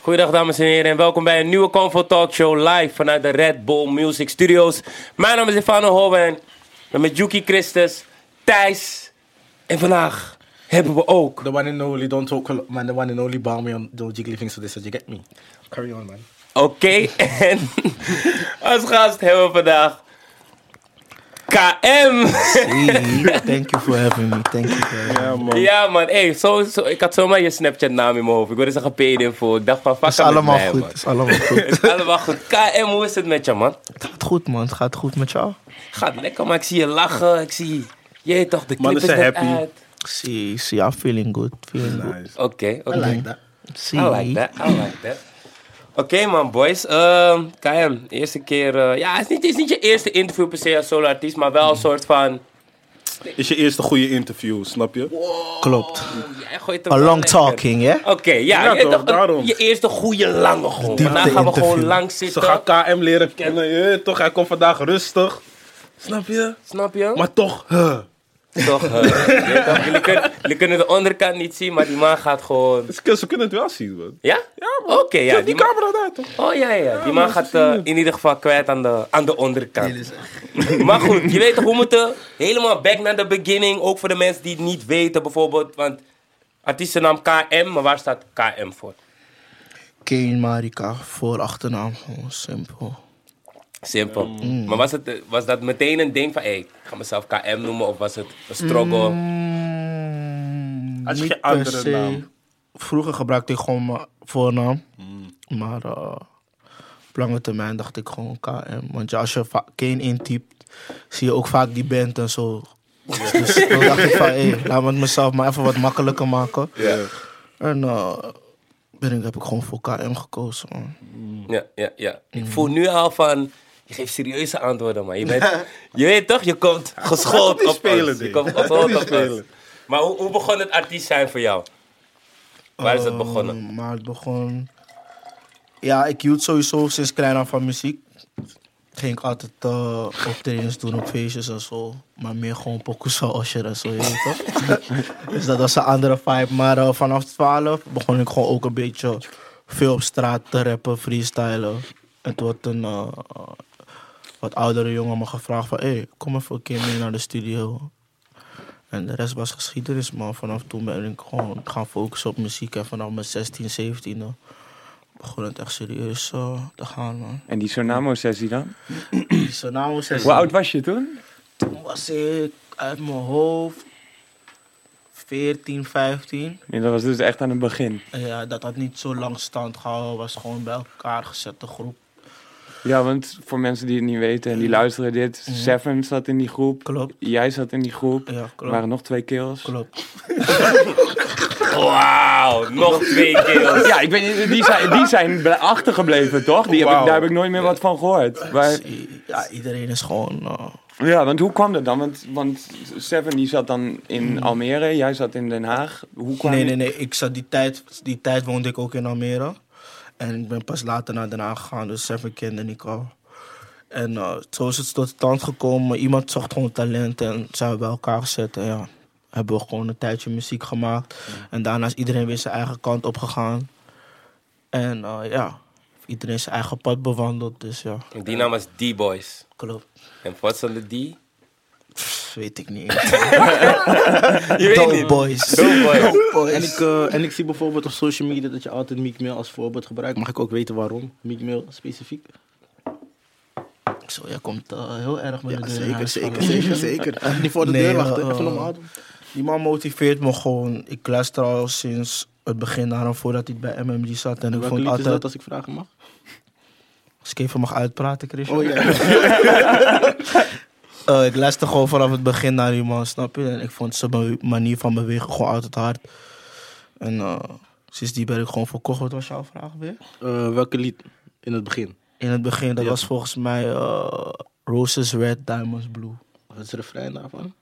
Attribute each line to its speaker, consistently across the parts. Speaker 1: Goedendag dames en heren en welkom bij een nieuwe Convo Talk Show live vanuit de Red Bull Music Studios. Mijn naam is Stefano Holwijn, ben met Juki Christus, Thijs en vandaag hebben we ook...
Speaker 2: The one and only, don't talk a lot, man. The one and only, bow me on those jiggly things to this, you get me? Carry on, man.
Speaker 1: Oké, en als gast hebben we vandaag KM.
Speaker 3: Thank you for having me. Thank you for having me.
Speaker 2: Ja, man.
Speaker 1: Ja man, hey, zo, zo, ik had zomaar je Snapchat naam in mijn hoofd. Ik wilde zeggen PD-info, ik dacht van fuck
Speaker 3: Het is allemaal
Speaker 1: mij,
Speaker 3: goed.
Speaker 1: man.
Speaker 3: Het is allemaal goed.
Speaker 1: Het is allemaal goed. KM, hoe is het met je man?
Speaker 3: Het gaat goed, man. Het gaat goed met jou.
Speaker 1: Gaat lekker, maar ik zie je lachen. Ik zie, jij toch, de clip
Speaker 2: Mannen
Speaker 1: is
Speaker 2: zijn
Speaker 1: net
Speaker 2: happy.
Speaker 1: uit.
Speaker 3: See, see, I'm feeling good. Feeling good.
Speaker 2: Nice.
Speaker 1: Oké, oké.
Speaker 2: I like that.
Speaker 3: See.
Speaker 1: I like that, I like that. Oké man, boys. Ehm, KM, eerste keer... eh, ja, het is, niet, het is niet je eerste interview per se als solo-artiest, maar wel een soort van...
Speaker 2: Is je eerste goede interview, snap je?
Speaker 3: Klopt.
Speaker 1: Jij gooit hem
Speaker 3: A
Speaker 1: wel
Speaker 3: long
Speaker 1: lekker.
Speaker 3: talking, hè?
Speaker 1: Oké, ja.
Speaker 2: Ja,
Speaker 1: je,
Speaker 2: toch,
Speaker 1: dacht,
Speaker 2: daarom.
Speaker 1: je eerste goede lange gewoon.
Speaker 3: Diepte
Speaker 1: Vandaag gaan we
Speaker 3: interview.
Speaker 1: gewoon lang
Speaker 2: Ze
Speaker 1: zitten.
Speaker 2: gaan KM leren kennen, je weet toch? Hij komt vandaag rustig. Snap je?
Speaker 1: Snap je?
Speaker 2: Maar toch, huh.
Speaker 1: toch, eh, je weet toch, jullie, kunnen, jullie kunnen de onderkant niet zien, maar die man gaat gewoon...
Speaker 2: Ze kunnen- ze kunnen het wel zien, man.
Speaker 1: Ja?
Speaker 2: Ja,
Speaker 1: Oké,
Speaker 2: man.
Speaker 1: ja.
Speaker 2: die
Speaker 1: man-
Speaker 2: camera daar, toch?
Speaker 1: Oh ja, ja. Die man
Speaker 2: maar
Speaker 1: gaat
Speaker 2: ze zien
Speaker 1: eh,
Speaker 2: het.
Speaker 1: in ieder geval kwijt aan de, aan de onderkant. maar goed, je weet toch, we moeten helemaal back naar de beginning. Ook voor de mensen die het niet weten, bijvoorbeeld. Want artiestennaam KM, maar waar staat KM voor?
Speaker 3: Kane Marika, voor achternaam. Gewoon simpel.
Speaker 1: Simpel.
Speaker 2: Mm.
Speaker 1: Maar was, het, eh, was dat meteen een ding van, hé, ik ga mezelf KM noemen? Of was het een struggle?
Speaker 3: Mm,
Speaker 2: Had je
Speaker 3: niet
Speaker 2: geen andere
Speaker 3: per se.
Speaker 2: naam?
Speaker 3: Vroeger gebruikte ik gewoon mijn voornaam.
Speaker 2: Hmm.
Speaker 3: Maar eh, op lange termijn dacht ik gewoon KM. Want ja, als je va- Kane intypt, zie je ook vaak die band en zo. Dus toen dacht ik van, hé, laat me het mezelf maar even wat makkelijker maken.
Speaker 2: Ja.
Speaker 3: En eh, ben ik, heb ik gewoon voor KM gekozen, man.
Speaker 1: Ja, ja, ja.
Speaker 2: Mhm.
Speaker 1: Ik voel nu al van. Je geeft serieuze antwoorden, man. Je, bent, je weet toch, je komt
Speaker 2: gaat
Speaker 1: geschoold
Speaker 2: niet
Speaker 1: op
Speaker 2: spelen,
Speaker 1: ons. Je
Speaker 2: dit.
Speaker 1: komt
Speaker 2: Hij gaat
Speaker 1: geschoold
Speaker 2: niet
Speaker 1: op ons.
Speaker 2: spelen.
Speaker 1: Maar hoe, hoe begon het artiest zijn voor jou? Waar is het
Speaker 3: Eh,
Speaker 1: begonnen?
Speaker 3: maar het begon... Ja, ik hield sowieso sinds klein af van muziek. Ging ik altijd eh optredens doen op feestjes en zo. Maar meer gewoon pokus van Osher en zo, je weet toch? dus dat was een andere vibe. Maar eh, vanaf 12 begon ik gewoon ook een beetje veel op straat te rappen, freestylen. En toen had een eh, wat oudere jongen me gevraagd van... Hé, hey, kom even een keer mee naar de studio. En de rest was geschiedenis, maar vanaf toen ben ik gewoon gaan focussen op muziek. En vanaf mijn 16, 17 begon het echt serieus eh, te gaan, man.
Speaker 4: En die Sonamo-sessie dan?
Speaker 3: Zo nou was
Speaker 4: Hoe oud was je toen?
Speaker 3: Toen was ik uit mijn hoofd 14, 15.
Speaker 4: Ja, dat was dus echt aan het begin.
Speaker 3: En ja, dat had niet zo lang stand gehouden, was gewoon bij elkaar gezette groep.
Speaker 4: Ja, want voor mensen die het niet weten en die luisteren dit... Seven zat in die groep.
Speaker 3: Klopt.
Speaker 4: Jij zat in die groep.
Speaker 3: Ja,
Speaker 4: Er
Speaker 3: klopt.
Speaker 4: waren nog twee kills.
Speaker 3: Klopt.
Speaker 2: Ehm.
Speaker 1: Wauw, nog twee keer.
Speaker 4: Ja, ik weet, die zijn, die zijn bl- achtergebleven, toch? Die heb ik,
Speaker 2: Wauw.
Speaker 4: daar heb ik nooit meer wat van gehoord. Maar,
Speaker 3: Ja, iedereen is gewoon... eh,
Speaker 4: ja, want hoe kwam dat dan? Want, want Seven die zat dan in Almere, jij zat in Den Haag. Hoe kwam
Speaker 3: Nee, nee, nee. Ik zat die tijd, die tijd woonde ik ook in Almere. En ik ben pas later naar Den Haag gegaan, dus Seven kende ik al. En eh, zo is het tot stand gekomen. Iemand zocht gewoon talent en zijn we bij elkaar gezet. En ja, hebben we gewoon een tijdje muziek gemaakt. En daarna is iedereen weer zijn eigen kant opgegaan. En eh, ja, iedereen zijn eigen pad bewandeld. Dus ja,
Speaker 1: Die naam was D-Boys.
Speaker 3: klopt.
Speaker 1: En wat zal de D? Je
Speaker 3: Pff, weet ik niet. eens.
Speaker 1: weet
Speaker 3: Dope
Speaker 1: niet.
Speaker 3: boys.
Speaker 1: Dope boys.
Speaker 2: En ik, eh, en ik zie bijvoorbeeld op social media dat je altijd Meek Mill als voorbeeld gebruikt. Mag ik ook weten waarom? Meek Mill specifiek?
Speaker 3: Zo, jij komt eh, heel erg met de
Speaker 5: Ja,
Speaker 3: deur in
Speaker 5: zeker,
Speaker 3: huis
Speaker 5: zeker,
Speaker 3: vallen.
Speaker 5: zeker, zeker. Niet voor de
Speaker 3: Nee,
Speaker 5: deur wachten,
Speaker 3: eh,
Speaker 5: even
Speaker 3: eh,
Speaker 5: normaal doen.
Speaker 3: Die man motiveert me gewoon. Ik luister al sinds het begin naar hem voordat hij bij MMG zat. En ik
Speaker 5: Welke
Speaker 3: vond
Speaker 5: lied is
Speaker 3: altijd...
Speaker 5: dat als ik vragen mag?
Speaker 3: Als ik even mag uitpraten, Christian.
Speaker 5: Oh ja,
Speaker 3: Eh, ik luister gewoon vanaf het begin naar die man, snap je? En ik vond zijn be- manier van bewegen gewoon altijd hard. En eh, sinds die ben ik gewoon verkocht. Wat was jouw vraag weer?
Speaker 5: Eh, welke lied in het begin?
Speaker 3: In het begin, dat was volgens mij eh, Roses Red, Diamonds Blue.
Speaker 5: Wat is de refrein daarvan?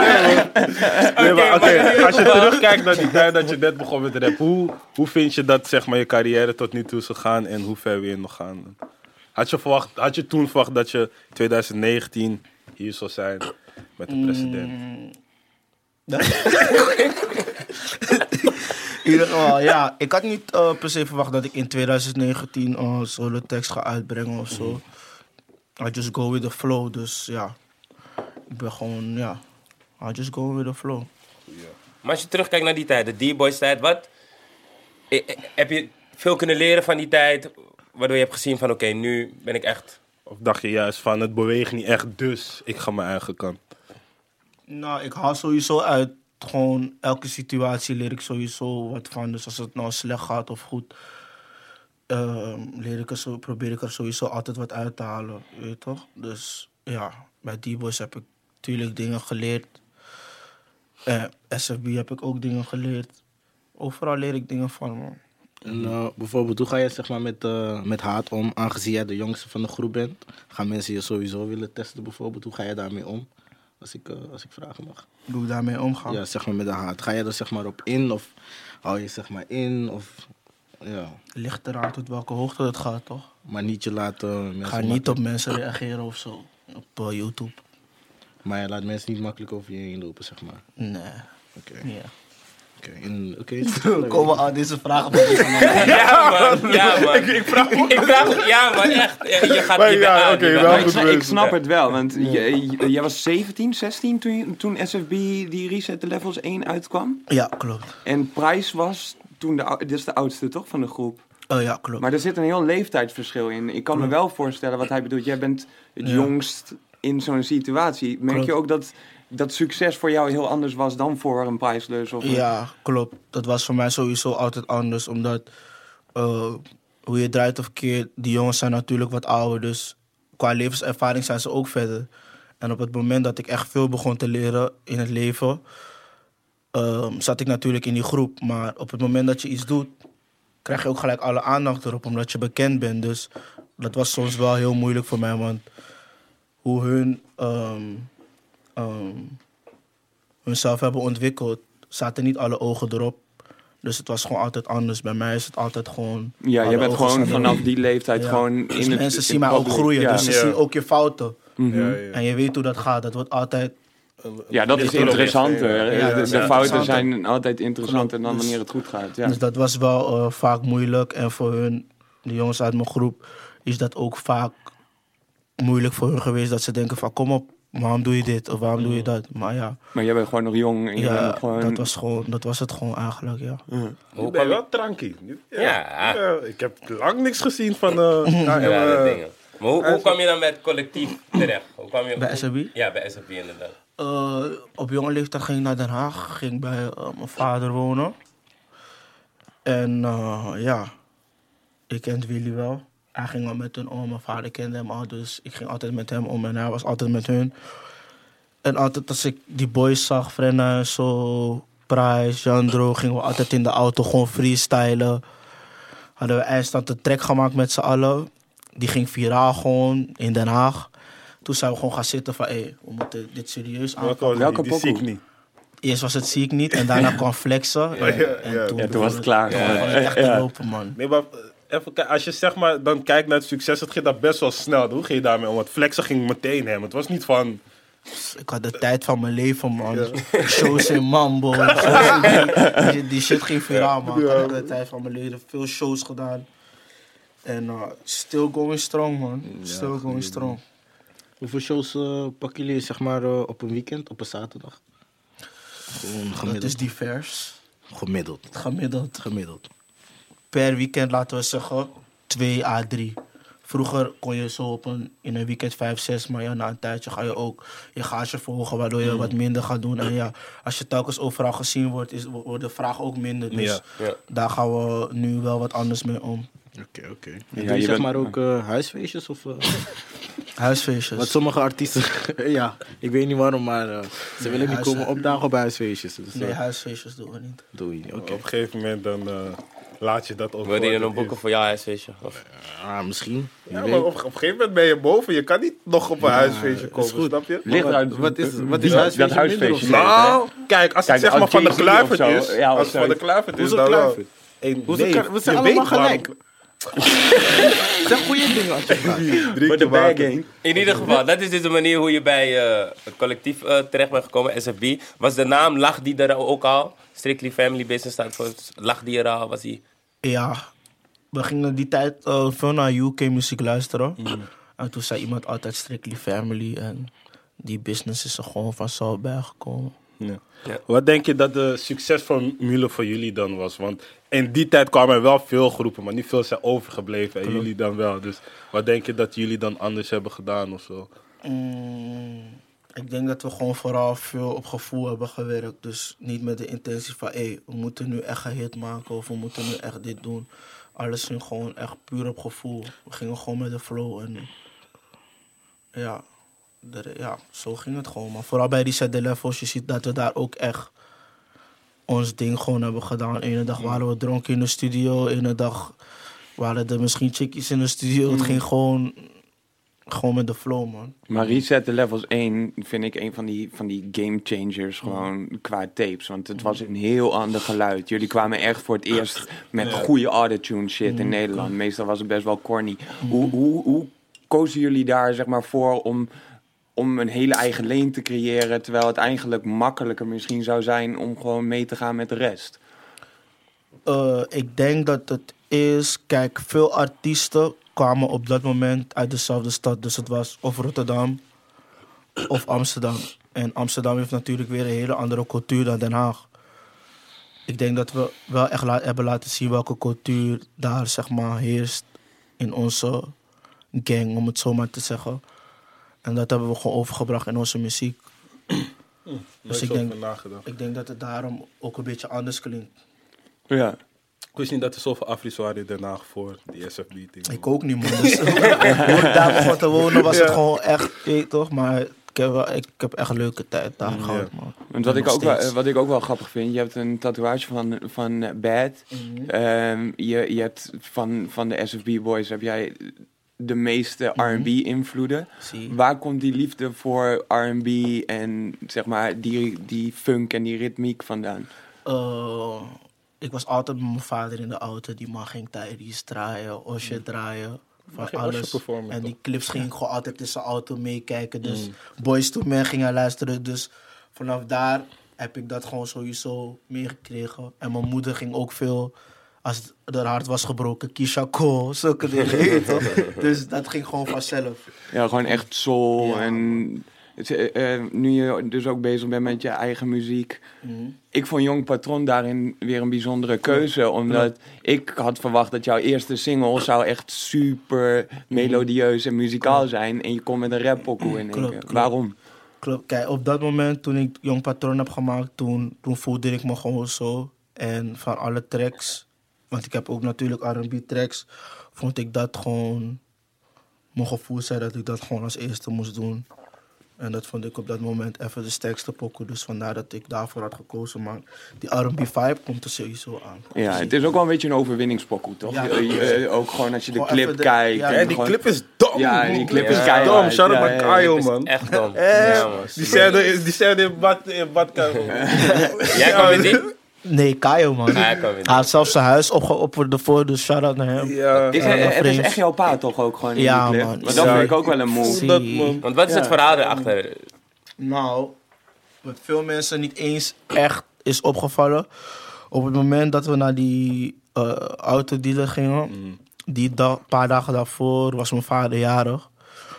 Speaker 2: Nee, maar
Speaker 1: Oké,
Speaker 2: oké,
Speaker 1: maar-
Speaker 2: als je terugkijkt naar die tijd dat je net begon met rap, hoe, hoe vind je dat zeg maar, je carrière tot nu toe is gegaan en hoe ver wil je nog gaan? Had je, verwacht, had je toen verwacht dat je 2019 hier zou zijn
Speaker 1: Mm.
Speaker 2: met de president?
Speaker 3: In ieder geval, ja. Ik had niet eh, per se verwacht dat ik in 2019 eh solo tekst ga uitbrengen of zo. I just go with the flow, dus ja. Ik ben gewoon, ja. I just go with the flow.
Speaker 1: Maar als je terugkijkt naar die tijd, de D-Boys tijd, wat? eh, eh, Heb je veel kunnen leren van die tijd? Waardoor je hebt gezien van, oké, nu ben ik echt...
Speaker 2: Of dacht je juist van het beweegt niet echt, dus ik ga mijn eigen kant.
Speaker 3: Nou, ik haal sowieso uit. Gewoon elke situatie leer ik sowieso wat van. Dus als het nou slecht gaat of goed, ehm, leer ik er zo, probeer ik er sowieso altijd wat uit te halen. Weet je toch? Dus ja, bij D-Boys heb ik natuurlijk dingen geleerd. Eh, SFB heb ik ook dingen geleerd. Overal leer ik dingen van, man.
Speaker 5: En
Speaker 2: Mhm.
Speaker 5: eh, bijvoorbeeld, hoe ga je zeg maar, met, eh, met haat om? Aangezien jij de jongste van de groep bent, gaan mensen je sowieso willen testen bijvoorbeeld. Hoe ga je daarmee om? Als ik, eh, als ik vragen mag.
Speaker 3: Hoe ik daarmee omgaan.
Speaker 5: Ja, zeg maar met de haat. Ga je er zeg maar op in of hou je zeg maar in? Of, ja.
Speaker 3: Ligt eraan tot welke hoogte het gaat, toch?
Speaker 5: Maar niet je laten mensen...
Speaker 3: Ik ga niet op mensen reageren of zo. Op eh, YouTube.
Speaker 5: Maar je laat mensen niet makkelijk over je heen lopen, zeg maar.
Speaker 3: Nee.
Speaker 5: Oké.
Speaker 3: Ja.
Speaker 5: Oké. en- Oké.
Speaker 3: Er komen al deze vragen boven me.
Speaker 1: Ja, man. Ja, man. ik, vraag Ik vraag Ja, man, echt. Ja, Je gaat
Speaker 2: Maar
Speaker 1: je
Speaker 2: ja,
Speaker 1: bent aan,
Speaker 2: oké,
Speaker 1: je bent
Speaker 2: wel
Speaker 1: aan.
Speaker 2: goed.
Speaker 4: ik, sna- ik snap
Speaker 1: Ja.
Speaker 4: het wel, want jij- jij- jij was 17, 16 toen, je- toen SFB die Reset the Levels 1 uitkwam.
Speaker 3: Ja, klopt.
Speaker 4: En Price was toen de, ou- dit is de oudste toch van de groep.
Speaker 3: Oh ja, klopt.
Speaker 4: Maar er zit een heel leeftijdsverschil in. Ik kan me wel voorstellen wat hij bedoelt. Jij bent het
Speaker 3: Ja.
Speaker 4: jongst in zo'n situatie. Merk je
Speaker 3: Klopt.
Speaker 4: ook dat, dat succes voor jou heel anders was dan voor een prijslus? Of een-
Speaker 3: Ja, klopt. Dat was voor mij sowieso altijd anders, omdat eh, hoe je draait of keert, die jongens zijn natuurlijk wat ouder, dus qua levenservaring zijn ze ook verder. En op het moment dat ik echt veel begon te leren in het leven, ehm, zat ik natuurlijk in die groep. Maar op het moment dat je iets doet, krijg je ook gelijk alle aandacht erop, omdat je bekend bent. Dus dat was soms wel heel moeilijk voor mij, want hoe hun ehm, ehm, hunzelf hebben ontwikkeld, zaten niet alle ogen erop. Dus het was gewoon altijd anders. Bij mij is het altijd gewoon.
Speaker 4: Ja,
Speaker 3: alle
Speaker 4: je bent
Speaker 3: ogen
Speaker 4: gewoon
Speaker 3: zijn erop.
Speaker 4: vanaf die leeftijd
Speaker 3: Ja.
Speaker 4: gewoon in
Speaker 3: Dus
Speaker 4: het-
Speaker 3: mensen
Speaker 4: in
Speaker 3: zien mij ook
Speaker 4: public.
Speaker 3: groeien,
Speaker 4: Ja,
Speaker 3: dus ze
Speaker 2: Ja.
Speaker 3: zien ook je fouten.
Speaker 4: Mhm.
Speaker 2: Ja, ja.
Speaker 3: En je weet hoe dat gaat. Dat wordt altijd.
Speaker 4: Ja, dat is
Speaker 2: Leeftijd.
Speaker 4: interessanter.
Speaker 2: Ja,
Speaker 3: ja,
Speaker 4: de,
Speaker 3: ja.
Speaker 4: de
Speaker 3: Ja.
Speaker 4: fouten
Speaker 3: Interessanter.
Speaker 4: zijn altijd interessanter dan
Speaker 3: Dus-
Speaker 4: wanneer het goed gaat. Ja.
Speaker 3: Dus dat was wel eh, vaak moeilijk. En voor hun, de jongens uit mijn groep, is dat ook vaak moeilijk voor hun geweest. Dat ze denken van kom op, waarom doe je dit? Of waarom doe je dat? Maar ja,
Speaker 4: Maar jij bent gewoon nog jong en je bent
Speaker 3: ja
Speaker 4: nog gewoon...
Speaker 3: dat, was gewoon, dat was het gewoon eigenlijk, ja.
Speaker 2: Ik ben wel tranky. Ja.
Speaker 1: Ja.
Speaker 2: Ja, Ik heb lang niks gezien van... eh, ja,
Speaker 1: Ja,
Speaker 2: ja,
Speaker 1: dat
Speaker 2: eh,
Speaker 1: dingen. Maar hoe, hoe kwam je dan met collectief terecht? Hoe kwam je,
Speaker 3: Bij SRB?
Speaker 1: Ja, bij SAP inderdaad.
Speaker 3: Eh, op jonge leeftijd ging ik naar Den Haag, ging bij eh, mijn vader wonen. En eh, ja, ik kent Willy wel. Hij ging al met hun om, mijn vader kende hem al, dus ik ging altijd met hem om en hij was altijd met hun. En altijd als ik die boys zag, Frenna en zo, Price, Jandro, gingen we altijd in de auto gewoon freestylen. Hadden we eindstand een track gemaakt met z'n allen. Die ging viraal gewoon in Den Haag. Toen zijn we gewoon gaan zitten van, hé, we moeten dit serieus
Speaker 2: welke
Speaker 3: aanpakken.
Speaker 2: was
Speaker 4: Ah, Welke
Speaker 2: die? Die zie ik
Speaker 4: pokoe?
Speaker 2: niet.
Speaker 3: Eerst was het ziek niet en daarna kwam flexen. En,
Speaker 2: ja,
Speaker 3: en
Speaker 2: ja.
Speaker 3: toen,
Speaker 4: Ja, toen was het
Speaker 3: begon
Speaker 4: klaar.
Speaker 3: Toen
Speaker 4: gewoon.
Speaker 3: begon het echt te lopen, man.
Speaker 2: Nee, maar eh, even kijken. Als je zeg maar dan kijkt naar het succes, het ging daar best wel snel. Hoe ging je daarmee om? Want flexen ging meteen hem. Het was niet van...
Speaker 3: Ik had de tijd van mijn leven, man. Shows in Mambo. shows in die, die, die shit ging viraal, man. Ik had de tijd van mijn leven. Veel shows gedaan. En eh, still going strong, man. Still going strong.
Speaker 5: Hoeveel shows eh, pakken jullie zeg maar, eh, op een weekend, op een zaterdag? Gewoon
Speaker 3: Dat
Speaker 5: gemiddeld.
Speaker 3: is divers.
Speaker 5: Gemiddeld.
Speaker 3: Gemiddeld.
Speaker 5: Gemiddeld.
Speaker 3: per weekend, laten we zeggen, 2 à 3. Vroeger kon je zo op een, in een weekend 5, 6, maar ja, na een tijdje ga je ook je gage verhogen, waardoor
Speaker 1: Mm.
Speaker 3: je wat minder gaat doen. En ja, als je telkens overal gezien wordt, is, wo- wordt de vraag ook minder. Dus
Speaker 1: Ja, ja.
Speaker 3: daar gaan we nu wel wat anders mee om.
Speaker 5: Oké, oké. En Doe
Speaker 4: je
Speaker 5: je zeg
Speaker 4: bent-
Speaker 5: maar ook eh, huisfeestjes of... eh,
Speaker 3: Huisfeestjes.
Speaker 5: Want sommige artiesten, ja, ik weet niet waarom, maar eh, ze willen niet
Speaker 3: huis-
Speaker 5: komen opdagen op huisfeestjes. Dus,
Speaker 3: Nee,
Speaker 5: eh,
Speaker 3: huisfeestjes doen we niet.
Speaker 5: doe je niet. Oké.
Speaker 2: Op een gegeven moment dan eh, laat je dat ook.
Speaker 1: Wil je
Speaker 2: gewoon-
Speaker 1: dan boeken voor jouw huisfeestje? Of?
Speaker 5: Ah, misschien. Wie
Speaker 2: Ja,
Speaker 5: weet.
Speaker 2: maar op, op een gegeven moment ben je boven. Je kan niet nog op een huisfeestje komen,
Speaker 5: goed.
Speaker 2: snap je?
Speaker 4: Ligt
Speaker 5: Wat-
Speaker 4: uit-
Speaker 5: wat is- wat is huisfeestje
Speaker 4: wie- Dat
Speaker 5: minder
Speaker 4: huisfeestje.
Speaker 5: of
Speaker 4: nee,
Speaker 2: Nou, kijk, als
Speaker 4: Kijk,
Speaker 2: het zeg
Speaker 4: als
Speaker 2: maar van de
Speaker 4: JC of
Speaker 2: kluivert
Speaker 4: zo,
Speaker 2: is.
Speaker 4: ja, of
Speaker 2: als het van
Speaker 4: zo.
Speaker 2: de kluivert is,
Speaker 5: Hoezo
Speaker 2: dan wel.
Speaker 5: kluivert?
Speaker 2: Eén,
Speaker 5: Hoezo
Speaker 2: nee,
Speaker 5: kluivert? We zijn
Speaker 2: je
Speaker 5: allemaal
Speaker 2: weet waarom-
Speaker 5: gelijk. Zeg goede dingen als je praat.
Speaker 4: Voor de bag game.
Speaker 1: In ieder geval, dat is dus de manier hoe je bij eh, het collectief eh, terecht bent gekomen, SFB. Was de naam, lag die er ook al? Strictly Family Business staat voor, lag die er al? Was die...
Speaker 3: Ja, we gingen die tijd eh, veel naar UK-muziek luisteren.
Speaker 1: Mm.
Speaker 3: En toen zei iemand altijd Strictly Family. En die business is er gewoon vanzelf bijgekomen.
Speaker 2: Ja.
Speaker 1: Ja.
Speaker 2: Wat denk je dat de succesformule voor jullie dan was? Want in die tijd kwamen er wel veel groepen, maar niet veel zijn overgebleven. En jullie dan wel. Dus wat denk je dat jullie dan anders hebben gedaan of zo?
Speaker 3: Mm, ik denk dat we gewoon vooral veel op gevoel hebben gewerkt. Dus niet met de intentie van, hé, we moeten nu echt een hit maken of we moeten nu echt dit doen. Alles ging gewoon echt puur op gevoel. We gingen gewoon met de flow en ja, de- ja zo ging het gewoon. Maar vooral bij die set levels, je ziet dat we daar ook echt ons ding gewoon hebben gedaan. Ene dag waren we dronken in de studio, ene dag waren er misschien chickies in de studio. Het ging gewoon, gewoon met de flow, man.
Speaker 4: Maar Reset the Levels 1 vind ik een van die, van die game changers gewoon qua tapes. Want het was een heel ander geluid. Jullie kwamen echt voor het eerst met goede autotune shit in Nederland. Meestal was het best wel corny. Hoe, hoe, hoe kozen jullie daar zeg maar voor om, om een hele eigen leen te creëren... terwijl het eigenlijk makkelijker misschien zou zijn om gewoon mee te gaan met de rest?
Speaker 3: Eh, ik denk dat het is. Kijk, veel artiesten kwamen op dat moment uit dezelfde stad. Dus het was of Rotterdam of Amsterdam. En Amsterdam heeft natuurlijk weer een hele andere cultuur dan Den Haag. Ik denk dat we wel echt la- hebben laten zien welke cultuur daar zeg maar heerst in onze gang, om het zo maar te zeggen. En dat hebben we gewoon overgebracht in onze muziek. Dus ik
Speaker 2: Nooit zo
Speaker 3: denk-
Speaker 2: over nagedacht.
Speaker 3: Ik denk dat het daarom ook een beetje anders klinkt.
Speaker 4: Ja.
Speaker 2: Ik wist niet dat er zoveel Afris waren in Den Haag voor die SFB-team.
Speaker 3: Ik ook niet, man. Dus, hoe ik daar begon te wonen was het gewoon echt, je weet toch? Maar ik heb, wel, ik heb echt leuke tijd daar gehad, man.
Speaker 4: Want wat,
Speaker 3: En
Speaker 4: ik
Speaker 3: nog
Speaker 4: ook wel,
Speaker 3: steeds.
Speaker 4: wat ik ook wel grappig vind, je hebt een tatoeage van, van eh, Bad.
Speaker 3: Mhm.
Speaker 4: Ehm, je, je hebt van, van de SFB Boys heb jij de meeste
Speaker 3: Mhm.
Speaker 4: RB-invloeden.
Speaker 3: Zie.
Speaker 4: Waar komt die liefde voor RB en zeg maar die, die funk en die ritmiek vandaan?
Speaker 3: Eh, ik was altijd met mijn vader in de auto. Die man ging Tyrese draaien, Osje draaien. Van
Speaker 2: Mm. Mag je Osher
Speaker 3: alles.
Speaker 2: performen,
Speaker 3: En die
Speaker 2: toch? Mm.
Speaker 3: clips ging ik gewoon altijd in zijn auto meekijken. Dus Boys to Men ging hij luisteren. Dus vanaf daar heb ik dat gewoon sowieso meegekregen. En mijn moeder ging ook veel... Als haar hart was gebroken, Kisha Cole, zulke dingen. je weet toch? dus dat ging gewoon vanzelf.
Speaker 4: Ja, gewoon echt soul
Speaker 3: Ja,
Speaker 4: en... het- eh, eh, nu je dus ook bezig bent met je eigen muziek. Ik vond Jong Patron daarin weer een bijzondere keuze. Omdat ik had verwacht dat jouw eerste single zou echt super melodieus en muzikaal zijn. En je komt met een rap pokoe in één
Speaker 3: Klopt,
Speaker 4: keer.
Speaker 3: klopt.
Speaker 4: Waarom?
Speaker 3: Klopt. Kijk, op dat moment toen ik Jong Patroon heb gemaakt, toen, toen voelde ik me gewoon zo. En van alle tracks, want ik heb ook natuurlijk R&B tracks, vond ik dat gewoon... Mijn gevoel zei dat ik dat gewoon als eerste moest doen. En dat vond ik op dat moment even de sterkste pokken. Dus vandaar dat ik daarvoor had gekozen. Maar die R&B vibe komt er sowieso aan.
Speaker 4: Ja, het is ook wel een beetje een overwinningspokoe, toch?
Speaker 3: Ja.
Speaker 4: Je- je- ook gewoon als je de
Speaker 3: Gewoon
Speaker 4: clip
Speaker 3: even de-
Speaker 4: kijkt.
Speaker 3: ja,
Speaker 4: en
Speaker 2: Ja, die
Speaker 4: gewoon-
Speaker 2: clip is dom.
Speaker 4: Ja, die clip is
Speaker 2: Ja.
Speaker 4: keihard.
Speaker 2: Dom, shout out
Speaker 4: Ja,
Speaker 2: naar
Speaker 4: ja, ja.
Speaker 2: Kayo,
Speaker 1: Dat
Speaker 2: Ah, man.
Speaker 1: is echt dom.
Speaker 2: Eh,
Speaker 1: Ja, man.
Speaker 2: die scène is- die scène in bad- in badkamer.
Speaker 1: Jij kwam weer niet?
Speaker 3: Nee, Kayo man.
Speaker 1: Ah,
Speaker 3: Hij
Speaker 1: ik kwam weer
Speaker 3: had zelfs zijn huis opgeofferd ervoor, dus shout-out naar hem.
Speaker 2: Ja.
Speaker 4: Is,
Speaker 3: Ja,
Speaker 4: hij-
Speaker 3: maar
Speaker 4: het is
Speaker 3: vreemd.
Speaker 4: echt jouw pa toch ook gewoon in
Speaker 3: Ja,
Speaker 4: die clip?
Speaker 3: man.
Speaker 4: Want dat
Speaker 2: Ja,
Speaker 4: vind ik
Speaker 2: ik-
Speaker 4: ook wel een move.
Speaker 3: Zie.
Speaker 2: Dat, man.
Speaker 1: Want wat is het verhaal erachter?
Speaker 3: Nou, wat veel mensen niet eens echt is opgevallen. Op het moment dat we naar die eh autodealer gingen,
Speaker 4: Mhm.
Speaker 3: die dag, paar dagen daarvoor was mijn vader jarig.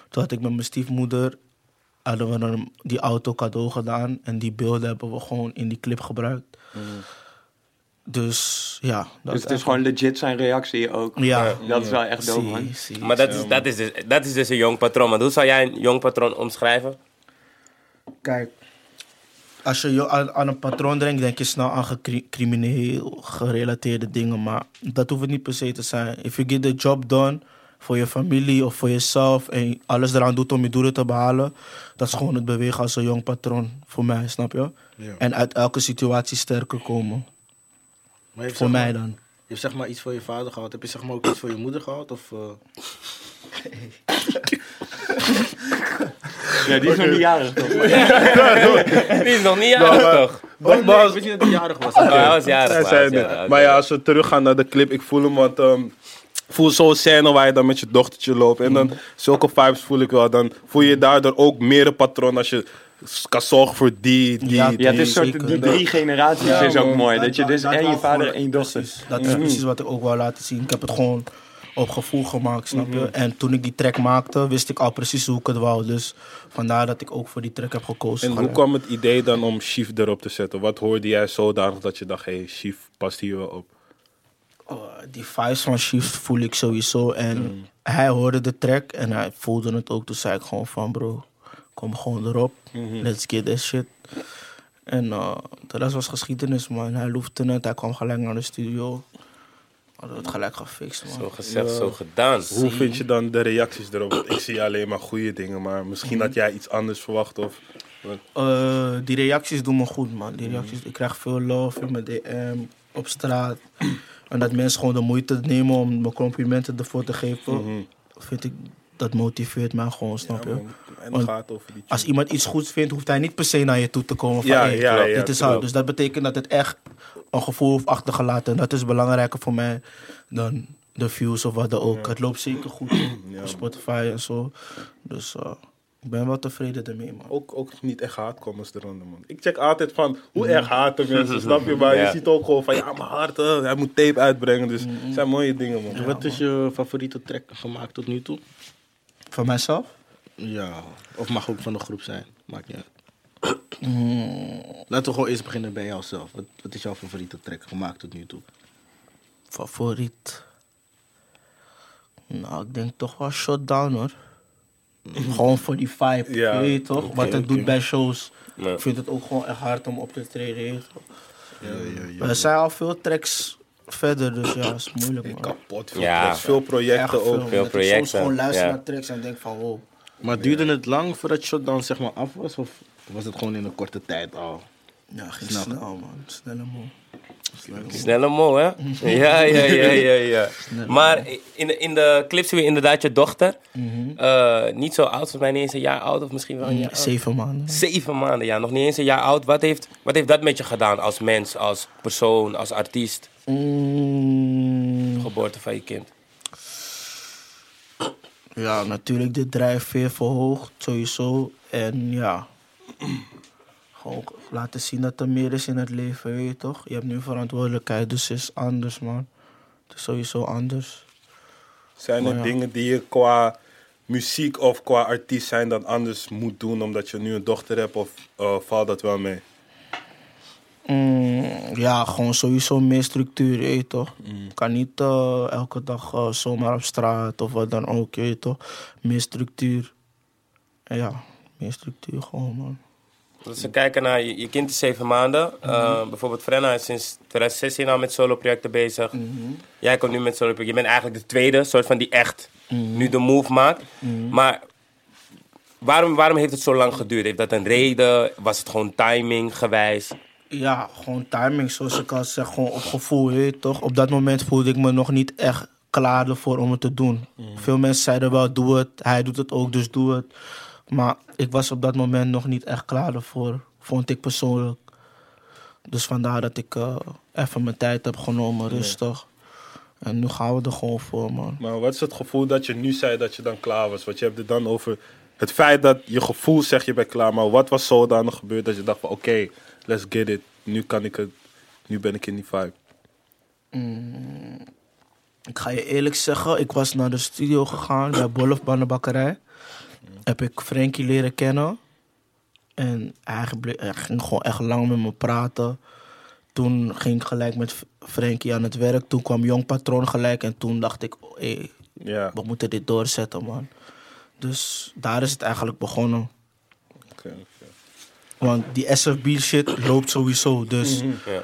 Speaker 3: Toen had ik met mijn stiefmoeder hadden we hem die auto cadeau gedaan en die beelden hebben we gewoon in die clip gebruikt. Dus ja, dat
Speaker 4: Mhm. Dus het is gewoon legit zijn reactie ook.
Speaker 3: ja,
Speaker 4: Dat is wel echt dope,
Speaker 3: zie,
Speaker 4: man.
Speaker 3: zie.
Speaker 1: Maar dat is, dat, is dus, dat is dus een jong patroon. Maar hoe zou jij een jong patroon omschrijven?
Speaker 3: Kijk, als je jo- aan, aan een patroon denkt, denk je snel aan gecri- crimineel gerelateerde dingen. Maar dat hoeft het niet per se te zijn. If you get the job done voor je familie of voor jezelf en alles eraan doet om je doelen te behalen, dat is gewoon het bewegen als een jong patroon voor mij, snap je? En uit elke situatie sterker komen.
Speaker 5: Maar je hebt
Speaker 3: Voor
Speaker 5: zeg
Speaker 3: mij
Speaker 5: maar-
Speaker 3: dan.
Speaker 5: Je hebt zeg maar iets voor je vader gehad. Heb je zeg maar ook iets voor je moeder gehad? Of, eh,
Speaker 4: Ja, die is nog niet jarig toch?
Speaker 1: Die is nog niet jarig, toch?
Speaker 5: ik wist niet dat hij jarig was.
Speaker 1: Oh, hij was jarig. maar
Speaker 2: Hij zei
Speaker 1: hij was
Speaker 2: het.
Speaker 1: jarig.
Speaker 2: Maar ja, als we teruggaan naar de clip, ik voel hem, want ehm, voel zo'n scène waar je dan met je dochtertje loopt. En dan zulke vibes voel ik wel. Dan voel je daardoor ook meer een patroon als je s- kan zorgen voor die, die,
Speaker 3: Ja,
Speaker 4: Ja, het is
Speaker 3: Nee,
Speaker 4: soort, die
Speaker 3: zeker.
Speaker 4: drie generaties
Speaker 2: Ja,
Speaker 4: is ook
Speaker 2: man.
Speaker 4: mooi. Dat je
Speaker 3: Dat-
Speaker 4: dus
Speaker 3: dat-
Speaker 4: en je
Speaker 3: dat-
Speaker 4: vader en je dochter.
Speaker 3: Precies, dat is precies wat ik ook wou laten zien. Ik heb het gewoon op gevoel gemaakt, snap
Speaker 2: Mhm.
Speaker 3: je? En toen ik die track maakte, wist ik al precies hoe ik het wou. Dus vandaar dat ik ook voor die track heb gekozen.
Speaker 2: En hoe kwam het idee dan om Chief erop te zetten? Wat hoorde jij zodanig dat je dacht, hé, hey, Chief past hier wel op?
Speaker 3: Oh, die vibes van Chief voel ik sowieso. En
Speaker 2: Mhm.
Speaker 3: hij hoorde de track en hij voelde het ook. Toen zei ik gewoon van bro, kom gewoon erop.
Speaker 2: Mhm.
Speaker 3: Let's get this shit. En eh, de rest was geschiedenis, man. Hij loefde het, hij kwam gelijk naar de studio. Hadden we het gelijk gefixt, man.
Speaker 1: Zo gezegd, zo gedaan.
Speaker 2: Hoe vind je dan de reacties erop? Want ik zie alleen maar goede dingen, maar misschien had jij iets anders verwacht of...
Speaker 3: Eh, die reacties doen me goed, man. Die reacties, ik krijg veel love in mijn DM, op straat. en dat mensen gewoon de moeite nemen om me complimenten ervoor te geven,
Speaker 2: Mhm.
Speaker 3: vind ik, dat motiveert mij gewoon, snap je?
Speaker 2: En dan
Speaker 3: Want
Speaker 2: gaat het over die
Speaker 3: Als iemand iets goeds vindt, hoeft hij niet per se naar je toe te komen van
Speaker 2: Ja,
Speaker 3: hey,
Speaker 2: ja, ja,
Speaker 3: dit is
Speaker 2: klopt.
Speaker 3: hard. Dus dat betekent dat het echt een gevoel heeft achtergelaten. En dat is belangrijker voor mij dan de views of wat dan ook. Het loopt zeker goed op Spotify en zo. Dus eh, ik ben wel tevreden ermee, man.
Speaker 2: ook, ook niet echt haatcomments eronder, man. Ik check altijd van hoe erg haten mensen, snap je? Maar
Speaker 1: Ja.
Speaker 2: je ziet ook gewoon van ja, mijn hart, eh, hij moet tape uitbrengen. Dus het zijn mooie dingen, man.
Speaker 5: Wat is je favoriete track gemaakt tot nu toe?
Speaker 3: Van mijzelf?
Speaker 5: Ja, of mag ook van de groep zijn. Maakt niet uit. Hmm. Laten we gewoon eerst beginnen bij jouzelf. Wat, wat is jouw favoriete track gemaakt tot nu toe?
Speaker 3: Favoriet? Nou, ik denk toch wel Shutdown hoor.
Speaker 5: Hmm.
Speaker 3: Gewoon voor die vibe,
Speaker 2: Ja,
Speaker 3: je weet toch? Wat het doet bij shows.
Speaker 1: Ja.
Speaker 3: Ik vind het ook gewoon echt hard om op te treden. je weet toch? We zijn al veel tracks verder, dus ja, is moeilijk man.
Speaker 2: Kapot veel,
Speaker 1: Ja.
Speaker 2: tracks, veel
Speaker 3: Echt
Speaker 2: projecten ook.
Speaker 1: Veel
Speaker 3: omdat ik Soms
Speaker 1: projecten,
Speaker 3: gewoon luister
Speaker 1: ja.
Speaker 3: naar tracks en denk van wow.
Speaker 5: Maar duurde het lang voordat Shutdown zeg maar af was? Of was het gewoon in een korte tijd al?
Speaker 3: Ja, ging
Speaker 5: Snap.
Speaker 3: snel man. Snelle man.
Speaker 1: Snelle mol, hè? Ja, ja, ja, ja. ja. Maar in, de- in de clip zien we inderdaad je dochter. Eh, niet zo oud, volgens mij niet eens een jaar oud of misschien wel een jaar oud.
Speaker 3: Zeven maanden.
Speaker 1: Zeven maanden, ja. Nog niet eens een jaar oud. Wat heeft, wat heeft dat met je gedaan als mens, als persoon, als artiest?
Speaker 3: Mm.
Speaker 1: Geboorte van je kind.
Speaker 3: Ja, natuurlijk de drijfveer verhoogd, sowieso. En ja, gewoon laten zien dat er meer is in het leven, weet je toch? Je hebt nu verantwoordelijkheid, dus het is anders, man. Het is sowieso anders.
Speaker 2: Zijn
Speaker 3: Oh,
Speaker 2: er dingen die je qua muziek of qua artiest zijn dan anders moet doen omdat je nu een dochter hebt of eh, valt dat wel mee?
Speaker 3: Mm, ja, gewoon sowieso meer structuur, je weet toch? Kan niet eh, elke dag eh, zomaar op straat of wat dan ook, je weet toch? Meer structuur. En ja, meer structuur gewoon, man.
Speaker 1: Als we Dus kijken naar je, je kind is zeven maanden. Uh, Bijvoorbeeld Frenna is sinds 2016 al met soloprojecten bezig. Jij komt nu met soloprojecten. Je bent eigenlijk de tweede, soort van die echt nu de move maakt. Maar waarom, waarom heeft het zo lang geduurd? Heeft dat een reden? Was het gewoon timing gewijs?
Speaker 3: Ja, gewoon timing, zoals ik al zeg, gewoon op gevoel, je weet toch? Op dat moment voelde ik me nog niet echt klaar ervoor om het te doen. Veel mensen zeiden wel, doe het, hij doet het ook, dus doe het. Maar ik was op dat moment nog niet echt klaar ervoor, vond ik persoonlijk. Dus vandaar dat ik eh, even mijn tijd heb genomen, rustig. En nu gaan we er gewoon voor, man.
Speaker 2: Maar wat is het gevoel dat je nu zei dat je dan klaar was? Want je hebt het dan over het feit dat je gevoel zegt je bent klaar. Maar wat was zodanig gebeurd dat je dacht van oké, let's get it. Nu kan ik het. Nu ben ik in die vibe.
Speaker 3: Ik ga je eerlijk zeggen, ik was naar de studio gegaan bij Bolf Bannenbakkerij. Heb ik Frankie leren kennen. En hij, ble- hij ging gewoon echt lang met me praten. Toen ging ik gelijk met F- Frankie aan het werk. Toen kwam Jong Patroon gelijk. En toen dacht ik, oh, hey,
Speaker 2: Ja,
Speaker 3: we moeten dit doorzetten, man. Dus daar is het eigenlijk begonnen.
Speaker 2: oké, oké.
Speaker 3: Want die SFB shit loopt sowieso. Dus
Speaker 2: Mhm,
Speaker 1: Ja.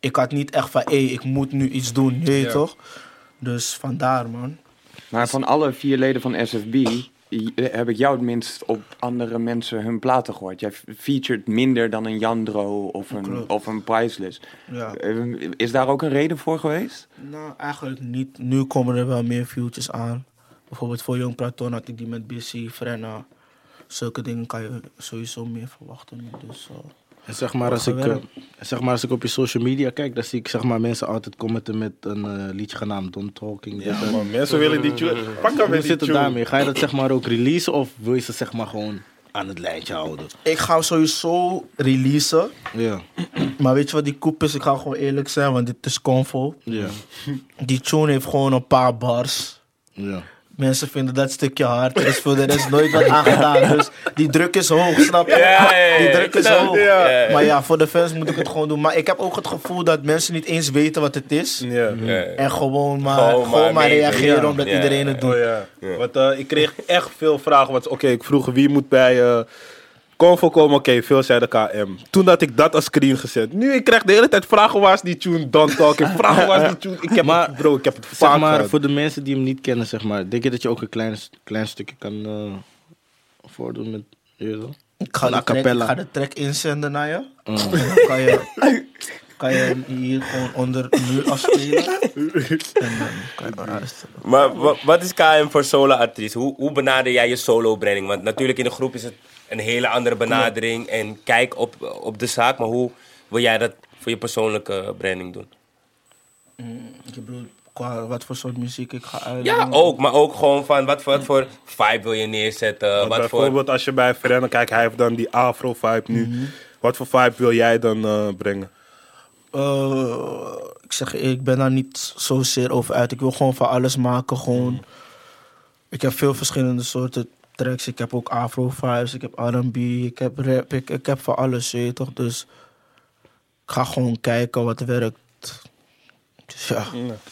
Speaker 3: ik had niet echt van, hé, hey, ik moet nu iets doen. Je weet toch? Dus vandaar, man.
Speaker 4: Maar van alle vier leden van SFB i- eh, heb ik jou het minst op andere mensen hun platen gehoord. Jij featured minder dan een Jandro of een,
Speaker 3: Klopt.
Speaker 4: of een Priceless.
Speaker 3: Ja.
Speaker 4: Eh, Is daar ook een reden voor geweest?
Speaker 3: Nou, eigenlijk niet. Nu komen er wel meer viewtjes aan. Bijvoorbeeld voor Jong Platon had ik die met Bissy, Frenna. Zulke dingen kan je sowieso meer verwachten. nu. Dus eh,
Speaker 5: En zeg maar, als ik, eh,
Speaker 3: gewerkt.
Speaker 5: zeg maar, als ik op je social media kijk, dan zie ik zeg maar, mensen altijd commenten met een eh, liedje genaamd Don't Talking. dit, dat.
Speaker 2: Man, mensen willen die tune. Pak hem
Speaker 5: Hoe
Speaker 2: weer die
Speaker 5: zit het
Speaker 2: tune.
Speaker 5: daarmee? Ga je dat zeg maar ook releasen of wil je ze zeg maar gewoon aan het lijntje houden?
Speaker 3: Ik ga hem sowieso releasen.
Speaker 5: Ja,
Speaker 3: Maar weet je wat die koep is? Ik ga gewoon eerlijk zijn, want dit is convo.
Speaker 5: ja,
Speaker 3: Die tune heeft gewoon een paar bars.
Speaker 5: ja.
Speaker 3: Mensen vinden dat stukje hard. Er is voor de rest nooit wat aangedaan. Dus die druk is hoog, snap je?
Speaker 1: Ja, ja, ja,
Speaker 3: die
Speaker 1: ja,
Speaker 3: druk
Speaker 1: ik
Speaker 3: is
Speaker 1: snap het,
Speaker 3: hoog.
Speaker 1: ja. Ja, ja.
Speaker 3: Maar ja, voor de fans moet ik het gewoon doen. Maar ik heb ook het gevoel dat mensen niet eens weten wat het is.
Speaker 2: Ja.
Speaker 3: En gewoon maar,
Speaker 1: Gewoon
Speaker 3: gewoon
Speaker 1: maar
Speaker 3: maar,
Speaker 1: meedoen.
Speaker 3: reageren
Speaker 2: Ja.
Speaker 3: omdat
Speaker 1: Ja,
Speaker 3: iedereen het doet.
Speaker 2: Oh ja. Want eh, ik kreeg echt veel vragen. Want, Oké, ik vroeg wie moet bij eh Convo komen. Oké, veel zeiden KM. Toen had ik dat als screen gezet. Nu, ik krijg de hele tijd vragen waar is die tune, dan talk. Ik vragen waar is die tune. Ik heb
Speaker 5: Maar,
Speaker 2: het, bro, ik heb het
Speaker 5: Zeg
Speaker 2: vaak
Speaker 5: maar,
Speaker 2: maar,
Speaker 5: voor de mensen die hem niet kennen, zeg maar, denk je dat je ook een klein, klein stukje kan eh, voordoen met... je weet wel?
Speaker 3: Ik ga,
Speaker 5: Een
Speaker 3: de
Speaker 5: a
Speaker 3: track, ik
Speaker 5: cappella.
Speaker 3: ga de track inzenden naar je.
Speaker 1: Mm.
Speaker 3: En dan kan je, kan je hem hier gewoon onder muur afspelen. en dan kan je maar luisteren.
Speaker 1: Maar wa- wat is KM voor solo-artiest? Hoe, hoe benader jij je solo-branding? Want natuurlijk in de groep is het een hele andere benadering en kijk op, op de zaak. Maar hoe wil jij dat voor je persoonlijke branding doen?
Speaker 3: Mm, Je bedoelt qua wat voor soort muziek ik ga uit.
Speaker 5: Mm.
Speaker 1: Ja, ook. Maar ook gewoon van wat voor, wat voor vibe wil je neerzetten? Wat voor...
Speaker 2: Bijvoorbeeld als je bij Frenna kijkt, hij heeft dan die afro-vibe nu.
Speaker 1: Mhm.
Speaker 2: Wat voor vibe wil jij dan eh, brengen?
Speaker 3: Eh, ik zeg je eerlijk, ik ben daar niet zozeer over uit. Ik wil gewoon van alles maken. Gewoon. Ik heb veel verschillende soorten tracks. Ik heb ook afro vibes, ik heb R&B, ik heb rap, ik, ik heb van alles, je weet toch? Dus ik ga gewoon kijken wat werkt. Dus ja,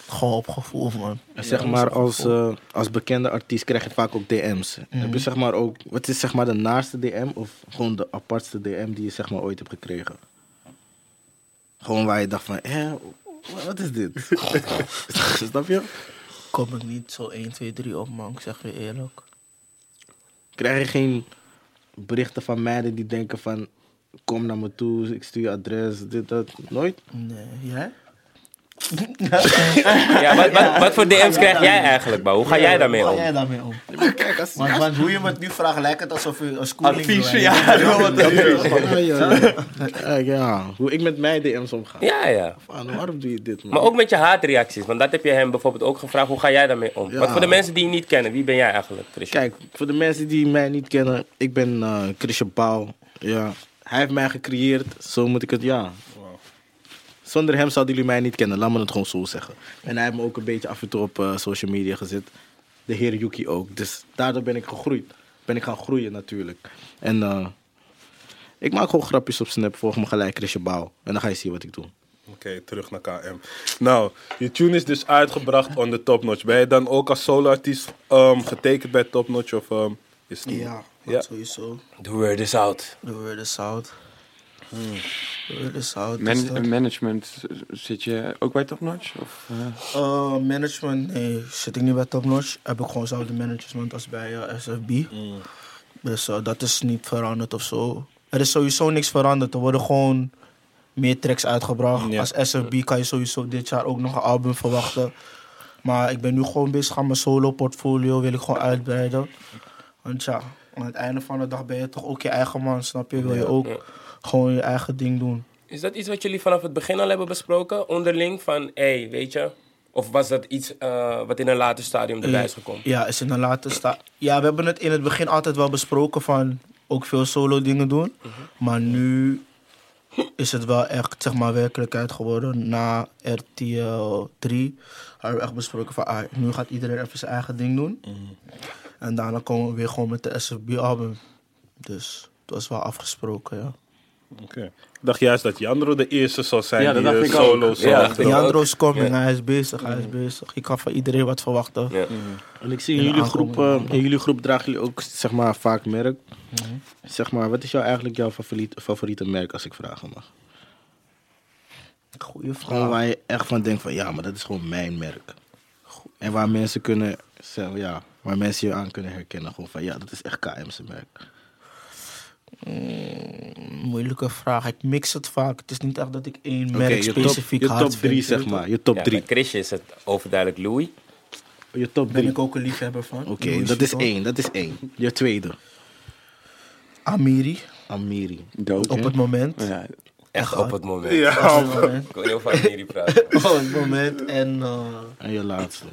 Speaker 3: gewoon op gevoel, man.
Speaker 5: En zeg maar, als, eh, als bekende artiest krijg je vaak ook DM's. Heb je zeg maar ook, wat is zeg maar de naaste DM of gewoon de apartste DM die je zeg maar ooit hebt gekregen? Gewoon waar je dacht van, hè, wa- wat is dit? Snap je? eh,
Speaker 3: Kom ik niet zo 1, 2, 3 op, man. Ik zeg je eerlijk.
Speaker 5: Krijg je geen berichten van meiden die denken van, kom naar me toe, ik stuur je adres, dit, dat. Nooit?
Speaker 3: Nee, jij?
Speaker 1: Ja, wat, wat, wat voor DM's krijg jij eigenlijk, Bouw? Hoe ga jij daarmee
Speaker 3: Hoe
Speaker 1: om?
Speaker 3: ga jij daarmee om? Want, want hoe je me het nu vraagt, lijkt het alsof je een schooling
Speaker 4: Advies,
Speaker 3: doet.
Speaker 4: ja.
Speaker 5: Ja, ja. ja, hoe ik met mijn DM's omga.
Speaker 1: Ja, ja.
Speaker 5: Van, waarom doe je dit, man?
Speaker 1: Maar ook met je haatreacties, want dat heb je hem bijvoorbeeld ook gevraagd. Hoe ga jij daarmee om?
Speaker 5: Ja.
Speaker 1: Want voor de mensen die je niet kennen, wie ben jij eigenlijk, Christian?
Speaker 5: Kijk, voor de mensen die mij niet kennen, ik ben eh Christian Pauw. Ja. Hij heeft mij gecreëerd, zo moet ik het, ja. Zonder hem zouden jullie mij niet kennen, laat me het gewoon zo zeggen. En hij heeft me ook een beetje af en toe op eh, social media gezet. De heer Yuki ook. Dus daardoor ben ik gegroeid. Ben ik gaan groeien natuurlijk. En eh, ik maak gewoon grapjes op Snap, volg me gelijk Christian Pauw. En dan ga je zien wat ik doe.
Speaker 2: Oké, terug naar KM. Nou, je tune is dus uitgebracht onder Top Notch. Ben je dan ook als solo-artiest ehm, getekend bij Top Notch? Of, ehm, is het-
Speaker 3: Ja,
Speaker 2: Ja.
Speaker 3: sowieso.
Speaker 1: The word is out.
Speaker 3: De word is out. De word is out. dus dat-
Speaker 4: Man- management, eh, zit je ook bij Top Notch? Of, eh?
Speaker 3: Eh, management, nee, zit ik niet bij Top Notch. Heb ik gewoon dezelfde management als bij eh, SFB. Dus eh, dat is niet veranderd of zo. Er is sowieso niks veranderd. Er worden gewoon meer tracks uitgebracht.
Speaker 2: Ja.
Speaker 3: Als SFB kan je sowieso dit jaar ook nog een album verwachten. Maar ik ben nu gewoon bezig aan mijn solo-portfolio. Wil ik gewoon uitbreiden. Want ja, aan het einde van de dag ben je toch ook je eigen man, snap je? Wil je ook gewoon je eigen ding doen.
Speaker 1: Is dat iets wat jullie vanaf het begin al hebben besproken, onderling? Van, hé, hey, weet je? Of was dat iets eh, wat in een later stadium erbij is gekomen?
Speaker 3: Ja, is in een later sta. Ja, we hebben het in het begin altijd wel besproken van ook veel solo dingen doen.
Speaker 1: Mhm.
Speaker 3: Maar nu is het wel echt, zeg maar, werkelijkheid geworden. Na RTL 3 hebben we echt besproken van, ah, nu gaat iedereen even zijn eigen ding doen.
Speaker 1: Mhm.
Speaker 3: En daarna komen we weer gewoon met de SFB-album. Dus het was wel afgesproken, ja.
Speaker 2: Oké. Ik dacht juist dat Jandro de eerste zou zijn
Speaker 4: Ja, dat
Speaker 2: die eh,
Speaker 4: dacht ik ook.
Speaker 2: solo zou
Speaker 1: Ja,
Speaker 2: gaan
Speaker 1: dat
Speaker 2: doen.
Speaker 1: ook. Mhm.
Speaker 3: Leandro is coming, hij is bezig, hij is bezig. Ik kan van iedereen wat verwachten.
Speaker 5: Mm.
Speaker 1: Ja.
Speaker 5: En ik zie
Speaker 3: In
Speaker 5: in
Speaker 3: de Mhm.
Speaker 5: jullie, groep,
Speaker 3: aankomende
Speaker 5: eh, in jullie groep dragen jullie ook zeg maar, vaak merk. Zeg maar, wat is jou eigenlijk jouw favoriet, favoriete merk als ik vragen mag?
Speaker 3: Goeie
Speaker 5: Gewoon
Speaker 3: vraag.
Speaker 5: waar je echt van denkt van ja, maar dat is gewoon mijn merk. En waar mensen kunnen, zeg, ja, waar mensen je aan kunnen herkennen. Gewoon van ja, dat is echt KM's merk.
Speaker 3: Moeilijke vraag. Ik mix het vaak. Het is niet echt dat ik één merk
Speaker 5: Oké, je top,
Speaker 3: specifiek
Speaker 5: je
Speaker 3: hard
Speaker 5: top drie
Speaker 3: vind,
Speaker 5: zeg
Speaker 3: weet je.
Speaker 5: maar, je top
Speaker 1: Ja,
Speaker 5: drie.
Speaker 1: bij Christian is het overduidelijk Louis.
Speaker 5: Je top
Speaker 3: Daar ben
Speaker 5: drie.
Speaker 3: ik ook een liefhebber van.
Speaker 5: Oké,
Speaker 3: Louis
Speaker 5: dat is
Speaker 3: Vuitton.
Speaker 5: één, dat is één. Je tweede.
Speaker 3: Amiri.
Speaker 5: Amiri.
Speaker 4: Dood,
Speaker 3: Op
Speaker 4: hè?
Speaker 3: het
Speaker 5: Oh,
Speaker 3: moment.
Speaker 4: Ja,
Speaker 1: Echt op het moment.
Speaker 2: Ja,
Speaker 3: Op het moment.
Speaker 1: Ik wil heel vaak met jullie praten.
Speaker 3: Op het moment. En eh,
Speaker 5: En je laatste.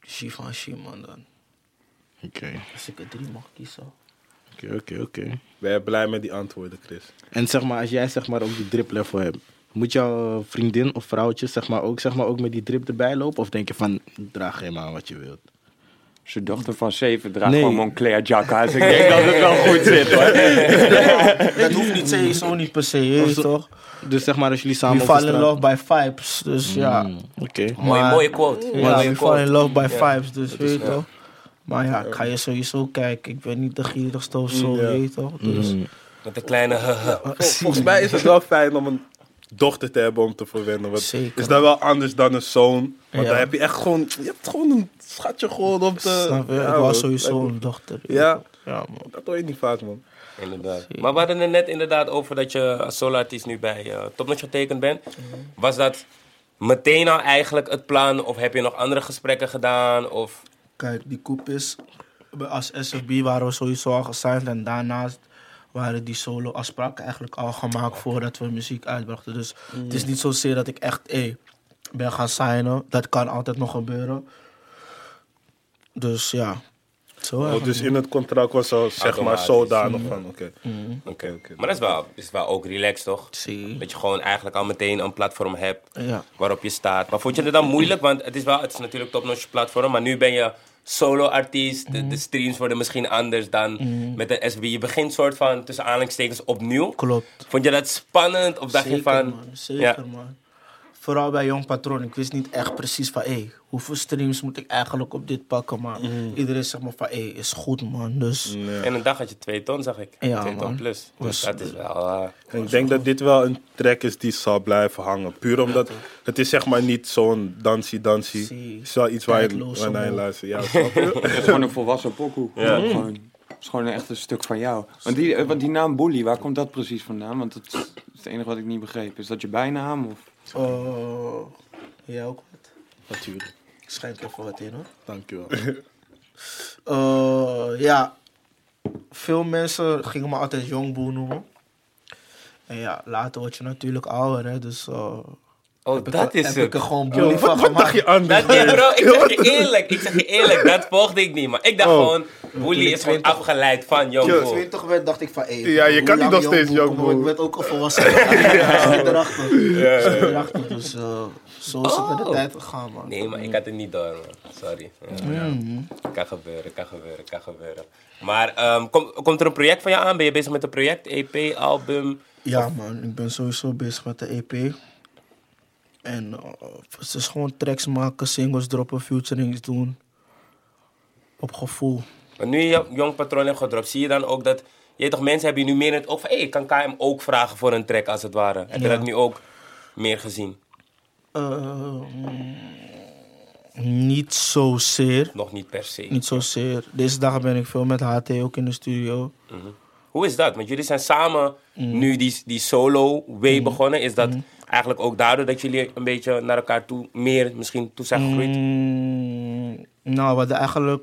Speaker 3: Givenchy, man, dan.
Speaker 5: Oké,
Speaker 3: Als ik er drie mag kiezen.
Speaker 5: oké, oké, oké.
Speaker 2: Ben je blij met die antwoorden, Chris?
Speaker 5: En zeg maar, als jij zeg maar ook die drip level hebt, moet jouw vriendin of vrouwtje zeg maar ook, zeg maar, ook met die drip erbij lopen? Of denk je van, draag helemaal aan wat je wilt?
Speaker 4: zijn dochter van zeven draagt
Speaker 5: Nee.
Speaker 4: gewoon Moncler jacka's. Ik denk dat het wel goed zit, hoor.
Speaker 3: Dat hoeft niet sowieso niet per se, je weet
Speaker 5: zo-
Speaker 3: toch?
Speaker 5: Dus zeg maar, als jullie samen
Speaker 3: We
Speaker 5: op de
Speaker 3: fall in
Speaker 5: straat-
Speaker 3: love by vibes, dus ja.
Speaker 5: Mm, Oké.
Speaker 1: Mooie,
Speaker 3: Maar-
Speaker 1: mooie quote.
Speaker 3: Ja,
Speaker 1: mooie
Speaker 3: we fall
Speaker 1: quote.
Speaker 3: in love by
Speaker 1: Ja.
Speaker 3: vibes, dus weet je toch? Maar ja, ik ga je sowieso kijken. Ik ben niet de gierigste of zo,
Speaker 2: Ja.
Speaker 3: weet je toch? Dus
Speaker 5: Mm.
Speaker 1: Met een kleine
Speaker 2: Volgens mij is het wel fijn om een dochter te hebben om te verwennen. Want
Speaker 3: Zeker.
Speaker 2: Is dat wel anders dan een zoon? Want
Speaker 3: Ja.
Speaker 2: dan heb je echt gewoon... Je hebt gewoon een schatje gewoon op de...
Speaker 3: snap je?
Speaker 2: Ja,
Speaker 3: ik
Speaker 2: man.
Speaker 3: was sowieso een dochter.
Speaker 2: Ja,
Speaker 3: Ja, man.
Speaker 2: dat hoor je niet vaak, man.
Speaker 1: Inderdaad. Maar we hadden het net inderdaad over dat je als solo-artiest nu bij eh, Topnotch getekend bent. Was dat meteen al eigenlijk het plan? Of heb je nog andere gesprekken gedaan? Of...
Speaker 3: Kijk, die koep is... Als SFB waren we sowieso al gesigned en daarnaast waren die solo-afspraken eigenlijk al gemaakt voordat we muziek uitbrachten. Dus het
Speaker 2: Mm.
Speaker 3: is niet zozeer dat ik echt hey, ben gaan signen. Dat kan altijd nog gebeuren. Dus ja, Mm. zo
Speaker 2: Oh,
Speaker 3: eigenlijk.
Speaker 2: dus in het contract was al, zeg maar,
Speaker 1: Automatisch.
Speaker 2: zodanig van, oké.
Speaker 1: Oké, Maar dat is wel, is wel ook relaxed, toch?
Speaker 3: Zie.
Speaker 1: Dat je gewoon eigenlijk al meteen een platform hebt
Speaker 3: Ja.
Speaker 1: waarop je staat. Maar vond je het dan moeilijk? Want het is, wel, het is natuurlijk topnotch platform, maar nu ben je solo-artiest.
Speaker 3: Mhm.
Speaker 1: De, de streams worden misschien anders dan met een SB. Je begint soort van tussen aanhalingstekens opnieuw.
Speaker 3: Klopt.
Speaker 1: Vond je dat spannend? Of dacht
Speaker 3: zeker,
Speaker 1: je van...
Speaker 3: Man, zeker, man. Vooral bij Jong Patroon. Ik wist niet echt precies van... Hey, hoeveel streams moet ik eigenlijk op dit pakken? Maar iedereen zegt maar van... Hey, is goed, man. Dus...
Speaker 1: En een dag had je twee ton, zag ik.
Speaker 3: Ja,
Speaker 1: twee ton
Speaker 3: man.
Speaker 1: plus. Dus
Speaker 3: Was-
Speaker 1: dat is wel... eh,
Speaker 2: En ik denk dat dit wel een track is die zal blijven hangen. Puur omdat het is zeg maar niet zo'n dansie-dansie.
Speaker 3: Zie.
Speaker 2: Het is wel iets waar je
Speaker 3: Tijdloos
Speaker 2: waar naar je
Speaker 3: omhoog.
Speaker 2: luistert. Ja, snap je?
Speaker 4: Het is gewoon een volwassen pokoe. Ja. Gewoon, het is gewoon een echt een stuk van jou. Want die, eh, want die naam Bully, waar komt dat precies vandaan? Want dat is het enige wat ik niet begreep. Is dat je bijnaam? Of?
Speaker 3: Oh, jij ook wat?
Speaker 5: Natuurlijk.
Speaker 3: Ik schenk even wat in, hoor.
Speaker 5: Dankjewel.
Speaker 3: Eh, ja, veel mensen gingen me altijd Jongboe noemen. En ja, later word je natuurlijk ouder, hè. Dus... eh,
Speaker 1: Oh,
Speaker 3: heb ik
Speaker 1: dat
Speaker 3: er-
Speaker 1: is
Speaker 3: Heb
Speaker 1: het.
Speaker 3: ik er gewoon bully van
Speaker 2: Wat dacht
Speaker 3: gemaakt.
Speaker 2: je anders?
Speaker 1: Dat, ja, bro, ik zeg je eerlijk, ik zeg je eerlijk, dat volgde ik niet, maar ik dacht gewoon, Woolly is gewoon afgeleid van
Speaker 2: Ja.
Speaker 1: Jongboek.
Speaker 3: Toen ik 20 werd, dacht ik van hé.
Speaker 2: Ja, je
Speaker 3: hoe
Speaker 2: kan niet
Speaker 3: lang
Speaker 2: nog steeds
Speaker 3: boek
Speaker 2: jong
Speaker 3: komt,
Speaker 2: boek.
Speaker 3: Ik werd ook een volwassen. Ik zit erachter. Ik zit erachter. Dus eh, zo is het met de
Speaker 1: Oh.
Speaker 3: tijd gegaan, man.
Speaker 1: Nee, maar ik had het niet door, man. Sorry. Ja. Kan gebeuren, kan gebeuren, kan gebeuren. Maar ehm, kom- komt er een project van jou aan? Ben je bezig met een project, EP, album?
Speaker 3: Ja, man. Ik ben sowieso bezig met de EP. En eh, het is gewoon tracks maken, singles droppen, featurings doen. Op gevoel.
Speaker 1: Want nu je Jong Patroon hebt gedropt, zie je dan ook dat... Je weet toch, mensen hebben je nu meer in het oog van... Hé, ik kan KM ook vragen voor een track, als het ware. Heb je
Speaker 3: Ja.
Speaker 1: dat nu ook meer gezien?
Speaker 3: Eh, mm, niet zozeer.
Speaker 1: Nog niet per se.
Speaker 3: Niet zozeer. Deze dagen ben ik veel met HT ook in de studio.
Speaker 1: Hoe is dat? Want jullie zijn samen nu die, die solo way begonnen. Is dat eigenlijk ook daardoor dat jullie een beetje naar elkaar toe meer misschien toe zijn gegroeid?
Speaker 3: Mm, nou, we hadden eigenlijk...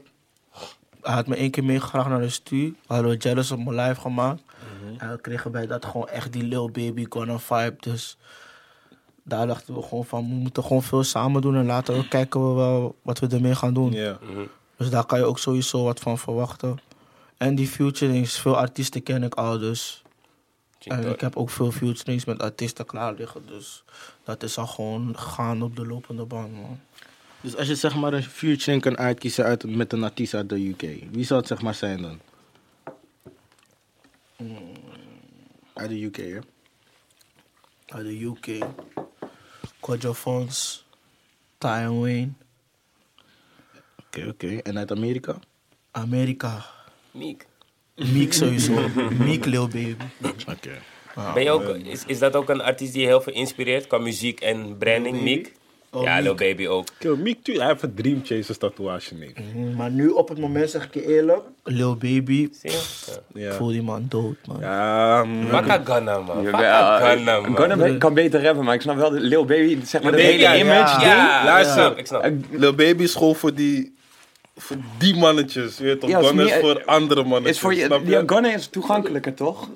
Speaker 3: Hij had me één keer meegevraagd naar de stuur. We hadden Jealous op mijn live gemaakt. En we kregen bij dat gewoon echt die Lil Baby Gonna vibe. Dus daar dachten we gewoon van... We moeten gewoon veel samen doen. En later ook kijken we wel wat we ermee gaan doen.
Speaker 2: Ja.
Speaker 3: Dus daar kan je ook sowieso wat van verwachten. En die featurings, veel artiesten ken ik al dus.
Speaker 1: Misschien
Speaker 3: En
Speaker 1: dat-
Speaker 3: ik heb ook veel featurings met artiesten klaar liggen. Dus dat is al gewoon gaan op de lopende band, man.
Speaker 5: Dus als je zeg maar een featuring kan uitkiezen uit, met een artiest uit de UK, wie zou het zeg maar zijn dan? Hmm, Uit de UK, hè?
Speaker 3: uit de UK. Quadro Fonds, Ty Wayne,
Speaker 5: Oké, oké. En uit Amerika?
Speaker 3: Amerika.
Speaker 1: Miek,
Speaker 3: Meek sowieso. Meek Lil Baby.
Speaker 5: Oké.
Speaker 1: ben je ook, is, is dat ook een artiest die je heel veel inspireert qua muziek en branding? Miek?
Speaker 3: Oh,
Speaker 1: ja,
Speaker 3: Miek.
Speaker 1: Lil Baby ook.
Speaker 2: Kill, Miek, tuurlijk, hij heeft een Dream Chasers tatoeage, nee.
Speaker 3: Maar nu op het moment zeg ik je eerlijk. Lil Baby.
Speaker 1: Zie je? Ja.
Speaker 3: Ik
Speaker 2: Ja.
Speaker 3: voel die man dood, man.
Speaker 2: Ja, mm.
Speaker 1: Baka Ghana, man.
Speaker 4: Ja,
Speaker 1: Baka Ghana, man.
Speaker 4: Gunna be- eh, kan beter rappen, maar ik snap wel dat Lil Baby, zeg maar,
Speaker 1: Lil
Speaker 4: dat
Speaker 1: Baby,
Speaker 4: hele
Speaker 1: ja.
Speaker 4: image.
Speaker 1: Ja,
Speaker 2: Luister.
Speaker 1: luister. Ik snap.
Speaker 2: Lil Baby is gewoon voor die voor die mannetjes, weet je toch?
Speaker 4: Ja, het is
Speaker 2: Gunna is
Speaker 4: meer-
Speaker 2: voor andere
Speaker 4: Het
Speaker 2: mannetjes,
Speaker 4: is voor je,
Speaker 2: snap je?
Speaker 4: ja, Gunna is toegankelijker, toch?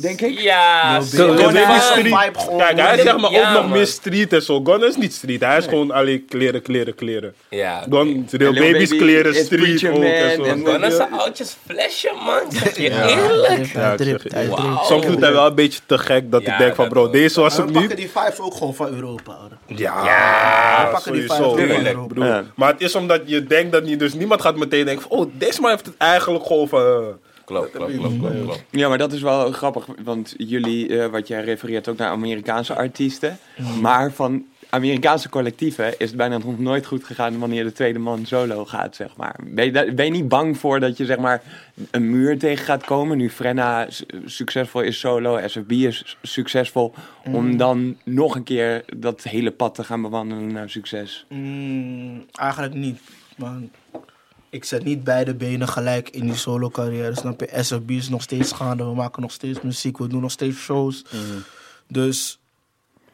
Speaker 4: Denk ik.
Speaker 1: Ja,
Speaker 2: Gunna
Speaker 1: Gunna-
Speaker 2: is
Speaker 3: Gunna-
Speaker 2: street.
Speaker 3: vibe gewoon.
Speaker 2: Kijk, hij zegt maar
Speaker 1: Ja,
Speaker 2: ook nog
Speaker 1: man.
Speaker 2: meer street en zo. Gunna is niet street, hij is gewoon alleen kleren, kleren, kleren.
Speaker 1: Ja, oké.
Speaker 2: Gun, Lil
Speaker 4: Lil
Speaker 2: Baby's
Speaker 4: Baby
Speaker 2: kleren,
Speaker 4: is
Speaker 2: street
Speaker 4: Preacher
Speaker 2: ook en
Speaker 4: Man
Speaker 2: zo.
Speaker 4: en
Speaker 1: Gunna is
Speaker 2: Ja.
Speaker 1: een oudjes flesje, man. Zeg je
Speaker 3: Hij
Speaker 1: eerlijk?
Speaker 3: dript, hij
Speaker 2: ik zeg
Speaker 3: dript,
Speaker 2: je
Speaker 3: hij
Speaker 2: eerlijk.
Speaker 3: dript.
Speaker 2: Soms doet hij wel een beetje te gek dat
Speaker 1: Ja,
Speaker 2: ik denk van
Speaker 1: dat
Speaker 2: bro,
Speaker 1: wel.
Speaker 2: deze was
Speaker 3: Maar
Speaker 2: het
Speaker 3: we
Speaker 2: niet.
Speaker 3: pakken die vibes ook gewoon van Europa. hoor.
Speaker 2: Ja,
Speaker 3: we pakken die
Speaker 2: sowieso.
Speaker 3: vijf
Speaker 1: tuurlijk.
Speaker 2: Ik bedoel,
Speaker 4: Ja.
Speaker 2: Maar het is omdat je denkt dat niet, dus niemand gaat meteen denken van, oh, deze man heeft het eigenlijk gewoon van... eh,
Speaker 3: Ah,
Speaker 1: Klopt, klopt, klopt, klopt, klopt.
Speaker 4: Ja, maar dat is wel grappig, want jullie, eh, wat jij refereert ook naar Amerikaanse artiesten.
Speaker 3: Mhm.
Speaker 4: Maar van Amerikaanse collectieven is het bijna nog nooit goed gegaan wanneer de tweede man solo gaat, zeg maar. Ben je, da- ben je niet bang voor dat je, zeg maar, een muur tegen gaat komen? Nu Frenna s- succesvol is solo, SFB is s- succesvol.
Speaker 3: Mhm.
Speaker 4: Om dan nog een keer dat hele pad te gaan bewandelen naar succes.
Speaker 3: Mm, eigenlijk niet. Maar ik zet niet beide benen gelijk in die solo carrière. Snap je? SFB is nog steeds gaande. We maken nog steeds muziek. We doen nog steeds shows. Dus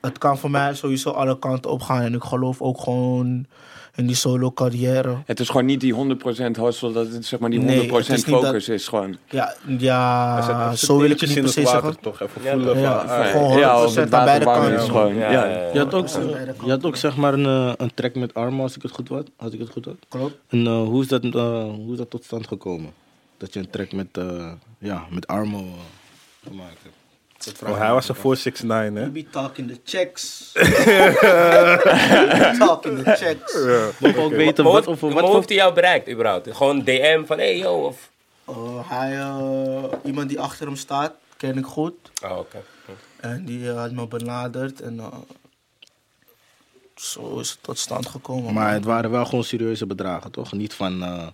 Speaker 3: het kan voor mij sowieso alle kanten op gaan. En ik geloof ook gewoon in die solo carrière.
Speaker 4: Het is gewoon niet die 100% hustle, dat het, zeg maar, die
Speaker 3: Nee,
Speaker 4: 100%
Speaker 3: het is niet dat-
Speaker 4: focus is gewoon.
Speaker 3: Ja,
Speaker 2: hij zet
Speaker 3: ja
Speaker 2: even
Speaker 3: zo wil ik het
Speaker 2: teentjes
Speaker 3: niet
Speaker 2: in
Speaker 3: precies
Speaker 2: water,
Speaker 3: zeggen.
Speaker 2: toch? Even
Speaker 1: Ja,
Speaker 2: voelen
Speaker 3: ja,
Speaker 2: van,
Speaker 3: ja.
Speaker 2: ah,
Speaker 3: Gewoon
Speaker 4: ja, als
Speaker 3: 100%
Speaker 4: het
Speaker 3: aan beide
Speaker 4: water warm
Speaker 3: kanten.
Speaker 4: is gewoon. Ja, ja.
Speaker 5: Je had ook, je had ook zeg maar een, eh, een track met Arma, als ik het goed had. Als ik het goed had.
Speaker 3: Klopt.
Speaker 5: En eh, hoe, is dat, eh, hoe is dat tot stand gekomen? Dat je een track met, eh, ja, met Armo eh, gemaakt hebt. Dat vraag
Speaker 2: Oh,
Speaker 5: ik
Speaker 2: hij
Speaker 5: me
Speaker 2: was een
Speaker 5: af.
Speaker 2: 469, hè?
Speaker 3: You be talking the checks. You be talking the checks.
Speaker 5: Mogen we ook weten
Speaker 1: Maar
Speaker 5: wat,
Speaker 1: hoe-
Speaker 5: of,
Speaker 1: maar
Speaker 5: wat
Speaker 1: hoe
Speaker 5: voor
Speaker 1: heeft hij jou bereikt, überhaupt? Gewoon DM van, hey yo, of...
Speaker 3: Eh, hij, eh, iemand die achter hem staat, ken ik goed.
Speaker 1: Oh, oké.
Speaker 3: En die eh, had me benaderd en eh, zo is het tot stand gekomen.
Speaker 5: Maar
Speaker 3: man.
Speaker 5: het waren wel gewoon serieuze bedragen, toch? Niet van eh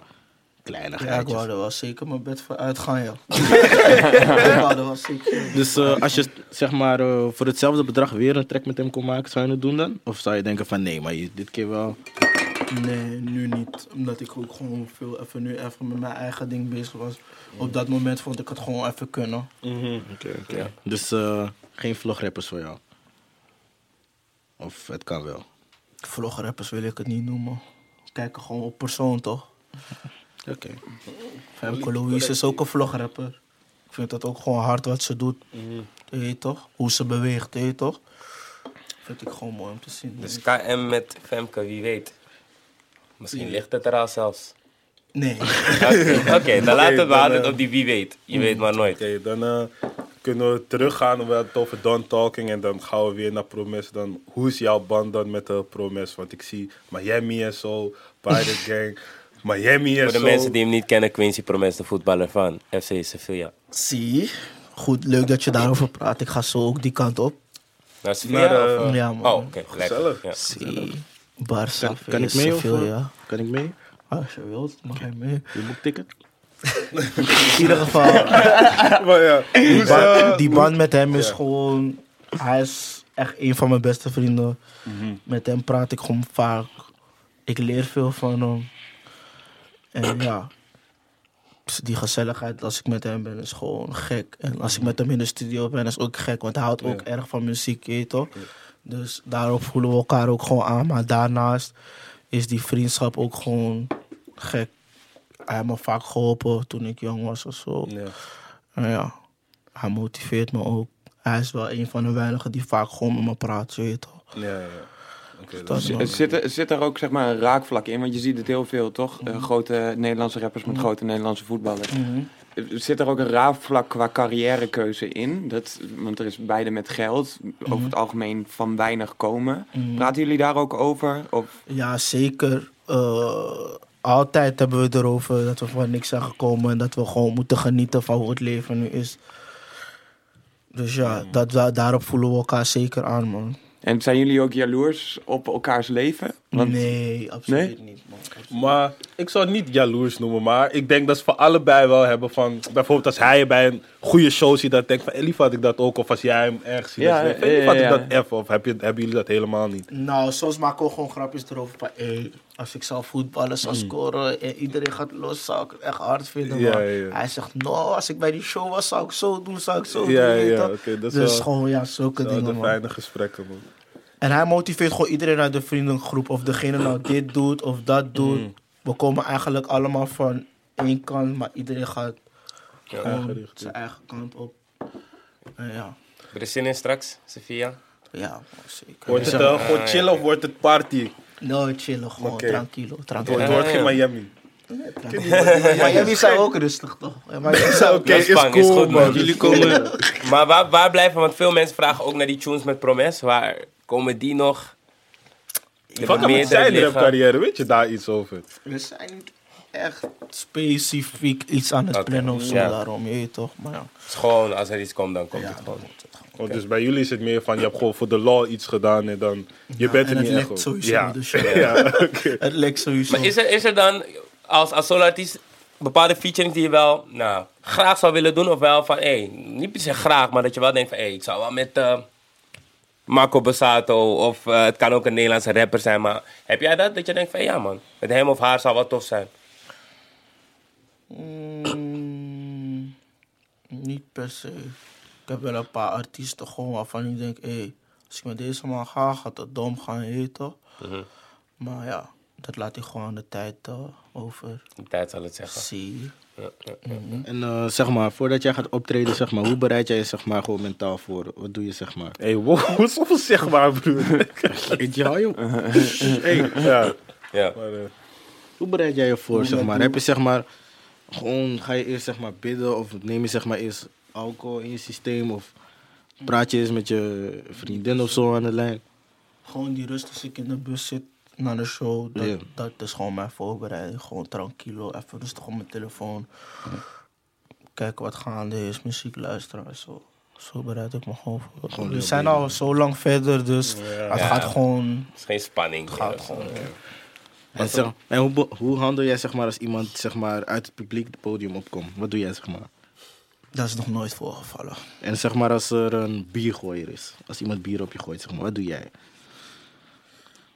Speaker 3: ja, ik
Speaker 5: kleinigheidjes.
Speaker 3: wou er wel zeker mijn bed voor uitgaan, ja. ik wou er wel zeker.
Speaker 5: dus eh, als je zeg maar eh, voor hetzelfde bedrag weer een track met hem kon maken, zou je het doen dan? Of zou je denken van nee, maar je- dit keer wel.
Speaker 3: Nee, nu niet. Omdat ik ook gewoon veel even nu even met mijn eigen ding bezig was. Op dat moment vond ik het gewoon even kunnen.
Speaker 5: Dus eh, geen vlograppers voor jou. Of het kan wel.
Speaker 3: Vlograppers wil ik het niet noemen. We kijken gewoon op persoon, toch?
Speaker 5: Oké.
Speaker 3: Femke Louise is ook een vlograpper. Ik vind dat ook gewoon hard wat ze doet.
Speaker 5: Mhm.
Speaker 3: Je weet toch? Hoe ze beweegt, je weet toch? Vind ik gewoon mooi om te zien.
Speaker 1: Dus KM met Femke, wie weet. Misschien ligt het er al zelfs.
Speaker 3: Nee.
Speaker 1: Oké, oké, dan laten we
Speaker 2: dan,
Speaker 1: houden
Speaker 2: eh, mm.
Speaker 1: op die wie weet. Je weet maar nooit.
Speaker 2: Oké, dan eh, kunnen we teruggaan. We hadden het over Don Talking en dan gaan we weer naar Promes. Dan, hoe is jouw band dan met de Promes? Want ik zie Miami en zo, Pirate Gang, Miami en
Speaker 1: Voor de
Speaker 2: zo.
Speaker 1: mensen die hem niet kennen, Quincy Promes, de voetballer van FC Sevilla.
Speaker 3: Zie. Goed, leuk dat je daarover praat. Ik ga zo ook die kant op.
Speaker 1: Naar Sevilla?
Speaker 2: Naar, eh,
Speaker 1: of, eh?
Speaker 3: ja, man.
Speaker 1: Oh, oké.
Speaker 2: Gezellig.
Speaker 1: Lekker. Ja.
Speaker 3: Zie. Barça,
Speaker 5: Kan, kan ik
Speaker 3: Villa,
Speaker 5: mee? Of, eh,
Speaker 3: Sevilla. Ah,
Speaker 5: Kan ik mee?
Speaker 3: Als je wilt, mag je mee.
Speaker 5: Je boekticket?
Speaker 3: In ieder geval,
Speaker 2: Maar ja, hoe
Speaker 3: die,
Speaker 2: is, eh,
Speaker 3: band, die band met hem is gewoon... Hij is echt een van mijn beste vrienden.
Speaker 2: Mhm.
Speaker 3: Met hem praat ik gewoon vaak. Ik leer veel van hem. En ja... dus Die gezelligheid als ik met hem ben is gewoon gek. En als ik met hem in de studio ben is ook gek. Want hij houdt ook erg van muziek, je weet toch? Dus daarop voelen we elkaar ook gewoon aan. Maar daarnaast is die vriendschap ook gewoon gek. Hij heeft me vaak geholpen toen ik jong was of zo.
Speaker 2: Ja.
Speaker 3: Nou ja, hij motiveert me ook. Hij is wel een van de weinigen die vaak gewoon met me praat, je weet toch?
Speaker 2: Ja, ja. Oké,
Speaker 3: Dat
Speaker 2: dan-
Speaker 3: man.
Speaker 4: Het zit, er- zit er ook zeg maar een raakvlak in, want je ziet het heel veel, toch? Eh, grote Nederlandse rappers met grote Nederlandse voetballers. Eh, Zit er ook een raakvlak qua carrièrekeuze in? Dat, want er is beide met geld, over het algemeen van weinig komen. Praten jullie daar ook over? Of,
Speaker 3: Ja, zeker. Eh, altijd hebben we het erover dat we van niks zijn gekomen en dat we gewoon moeten genieten van hoe het leven nu is. Dus ja, dat, da- daarop voelen we elkaar zeker aan, man.
Speaker 4: en zijn jullie ook jaloers op elkaars leven? Want
Speaker 3: nee, absoluut niet, man.
Speaker 2: Maar ik zou het niet jaloers noemen, maar ik denk dat ze voor allebei wel hebben van... Bijvoorbeeld als hij bij een goede show ziet, dat denk van, eh, liever had ik dat ook. Of als jij hem ergens ziet,
Speaker 4: Ja,
Speaker 2: dat je denkt, eh,
Speaker 4: ja,
Speaker 2: liever had
Speaker 4: ja,
Speaker 2: ik
Speaker 4: ja.
Speaker 2: dat even. Of heb je, hebben jullie dat helemaal niet?
Speaker 3: Nou, soms maken we gewoon grapjes erover van, hey, als ik zou voetballen, zou scoren en iedereen gaat los, zou ik het echt hard vinden.
Speaker 2: Hmm. Ja,
Speaker 3: maar
Speaker 2: ja, ja.
Speaker 3: Hij zegt, no, als ik bij die show was, zou ik zo doen, zou ik zo doen.
Speaker 2: Ja,
Speaker 3: je weet
Speaker 2: ja,
Speaker 3: toch?
Speaker 2: oké, dat is
Speaker 3: dus
Speaker 2: wel-
Speaker 3: gewoon, ja, zulke
Speaker 2: Dat
Speaker 3: dingen,
Speaker 2: zijn
Speaker 3: man.
Speaker 2: fijne gesprekken, man. Hmm.
Speaker 3: En hij motiveert gewoon iedereen uit de vriendengroep, of degene nou dit doet of dat doet. we komen eigenlijk allemaal van één kant, maar iedereen gaat gewoon zijn eigen kant op. En ja,
Speaker 1: Er is zin in straks, Sophia.
Speaker 3: ja, zeker.
Speaker 2: Wordt het eh, gewoon chillen of wordt het party?
Speaker 3: Nou, chillen, gewoon
Speaker 2: Oké.
Speaker 3: tranquilo,
Speaker 2: Het wordt-
Speaker 3: tranquilo.
Speaker 2: het wordt geen Miami.
Speaker 3: Maar jullie zijn ook rustig, toch? Ja, maar jullie zijn ook
Speaker 1: Oké, is, bang, is goed, man.
Speaker 5: Jullie komen.
Speaker 1: Maar waar, waar blijven, want veel mensen vragen ook naar die tunes met Promes. Waar komen die nog? Je
Speaker 2: Wat kan met zijn rapcarrière? Weet je daar iets over?
Speaker 3: We zijn niet echt specifiek iets aan het
Speaker 1: Oké,
Speaker 3: plannen of zo,
Speaker 1: ja.
Speaker 3: daarom, je weet toch? Maar ja,
Speaker 1: Schoon, als er iets komt, dan komt het gewoon.
Speaker 2: Want dus bij jullie is het meer van, je hebt gewoon voor de law iets gedaan en dan... Je bent
Speaker 3: en het
Speaker 2: er niet echt
Speaker 3: lekt
Speaker 2: op.
Speaker 3: sowieso,
Speaker 2: Ja.
Speaker 3: dus ja. Het lekt sowieso.
Speaker 1: Maar is er, is er dan, als, als solo-artiest, bepaalde featuring die je wel nou, graag zou willen doen? Of wel van, hé, niet per se graag, maar dat je wel denkt van, hé, ik zou wel met eh, Marco Bassato of eh, het kan ook een Nederlandse rapper zijn. Maar heb jij dat? Dat je denkt van, ja man, met hem of haar zou wel tof zijn.
Speaker 3: Mm, niet per se. Ik heb wel een paar artiesten gewoon waarvan ik denk, hé, als ik met deze man ga, gaat het dom gaan, je weet toch?
Speaker 1: Mhm.
Speaker 3: Maar ja, dat laat ik gewoon aan de tijd eh, over.
Speaker 1: De tijd zal het zeggen.
Speaker 3: Zie.
Speaker 5: En eh, zeg maar, voordat jij gaat optreden, zeg maar, hoe bereid jij je zeg maar, gewoon mentaal voor? Wat doe je zeg maar?
Speaker 2: Hé, hey, wow, wat is dat zeg maar, broer?
Speaker 5: Ik jou, joh.
Speaker 2: hey, ja.
Speaker 1: Ja.
Speaker 2: Maar, eh,
Speaker 5: Hoe bereid jij je voor zeg maar? Heb je zeg maar, gewoon ga je eerst zeg maar bidden of neem je zeg maar eerst alcohol in je systeem of praat je eens met je vriendin of zo aan de lijn?
Speaker 3: Gewoon die rust als ik in de bus zit naar de show. Dat,
Speaker 5: Ja.
Speaker 3: dat is gewoon mijn voorbereiding. Gewoon tranquilo, even rustig op mijn telefoon. Kijken wat gaande is, muziek luisteren en zo. Zo bereid ik me gewoon voor. We zijn al zo lang verder, dus het gaat gewoon...
Speaker 1: Het is geen spanning. hier
Speaker 3: Gaat
Speaker 1: of zo.
Speaker 3: gewoon ja.
Speaker 5: En, zeg, en hoe, be- hoe handel jij zeg maar als iemand zeg maar uit het publiek het podium opkomt? Wat doe jij zeg maar?
Speaker 3: Dat is nog nooit voorgevallen.
Speaker 5: En zeg maar als er een biergooier is, als iemand bier op je gooit zeg maar, wat doe jij?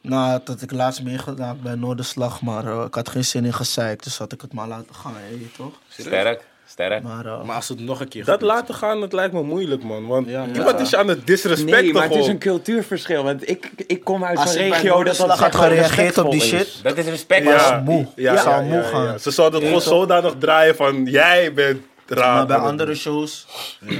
Speaker 3: Nou, dat ik laatst meegedaan bij Noorderslag, maar eh, ik had geen zin in gezeik, dus had ik het maar laten gaan, hè, je weet toch?
Speaker 1: Sterk, sterk.
Speaker 3: Maar, eh,
Speaker 5: Maar als het nog een keer
Speaker 2: dat
Speaker 5: gebeurt,
Speaker 2: laten gaan, dat lijkt me moeilijk, man. Want
Speaker 5: Ja, ja.
Speaker 2: iemand is je aan het disrespecten
Speaker 4: nee, maar het is
Speaker 2: gewoon.
Speaker 4: een cultuurverschil. Want ik, ik kom uit
Speaker 3: Als
Speaker 4: zo'n
Speaker 3: ik bij
Speaker 4: regio dat dat
Speaker 3: Noorderslag had
Speaker 4: zeg maar
Speaker 3: gereageerd op die
Speaker 4: respectvol
Speaker 3: shit,
Speaker 4: is.
Speaker 1: Dat is respect,
Speaker 2: Ja.
Speaker 1: man.
Speaker 3: was moe.
Speaker 2: Ja,
Speaker 3: ik
Speaker 2: ja,
Speaker 3: zou
Speaker 2: ja,
Speaker 3: moe
Speaker 2: ja,
Speaker 3: gaan.
Speaker 2: ja. Ze zouden het gewoon zodanig draaien van, jij bent raar.
Speaker 3: Maar bij andere shows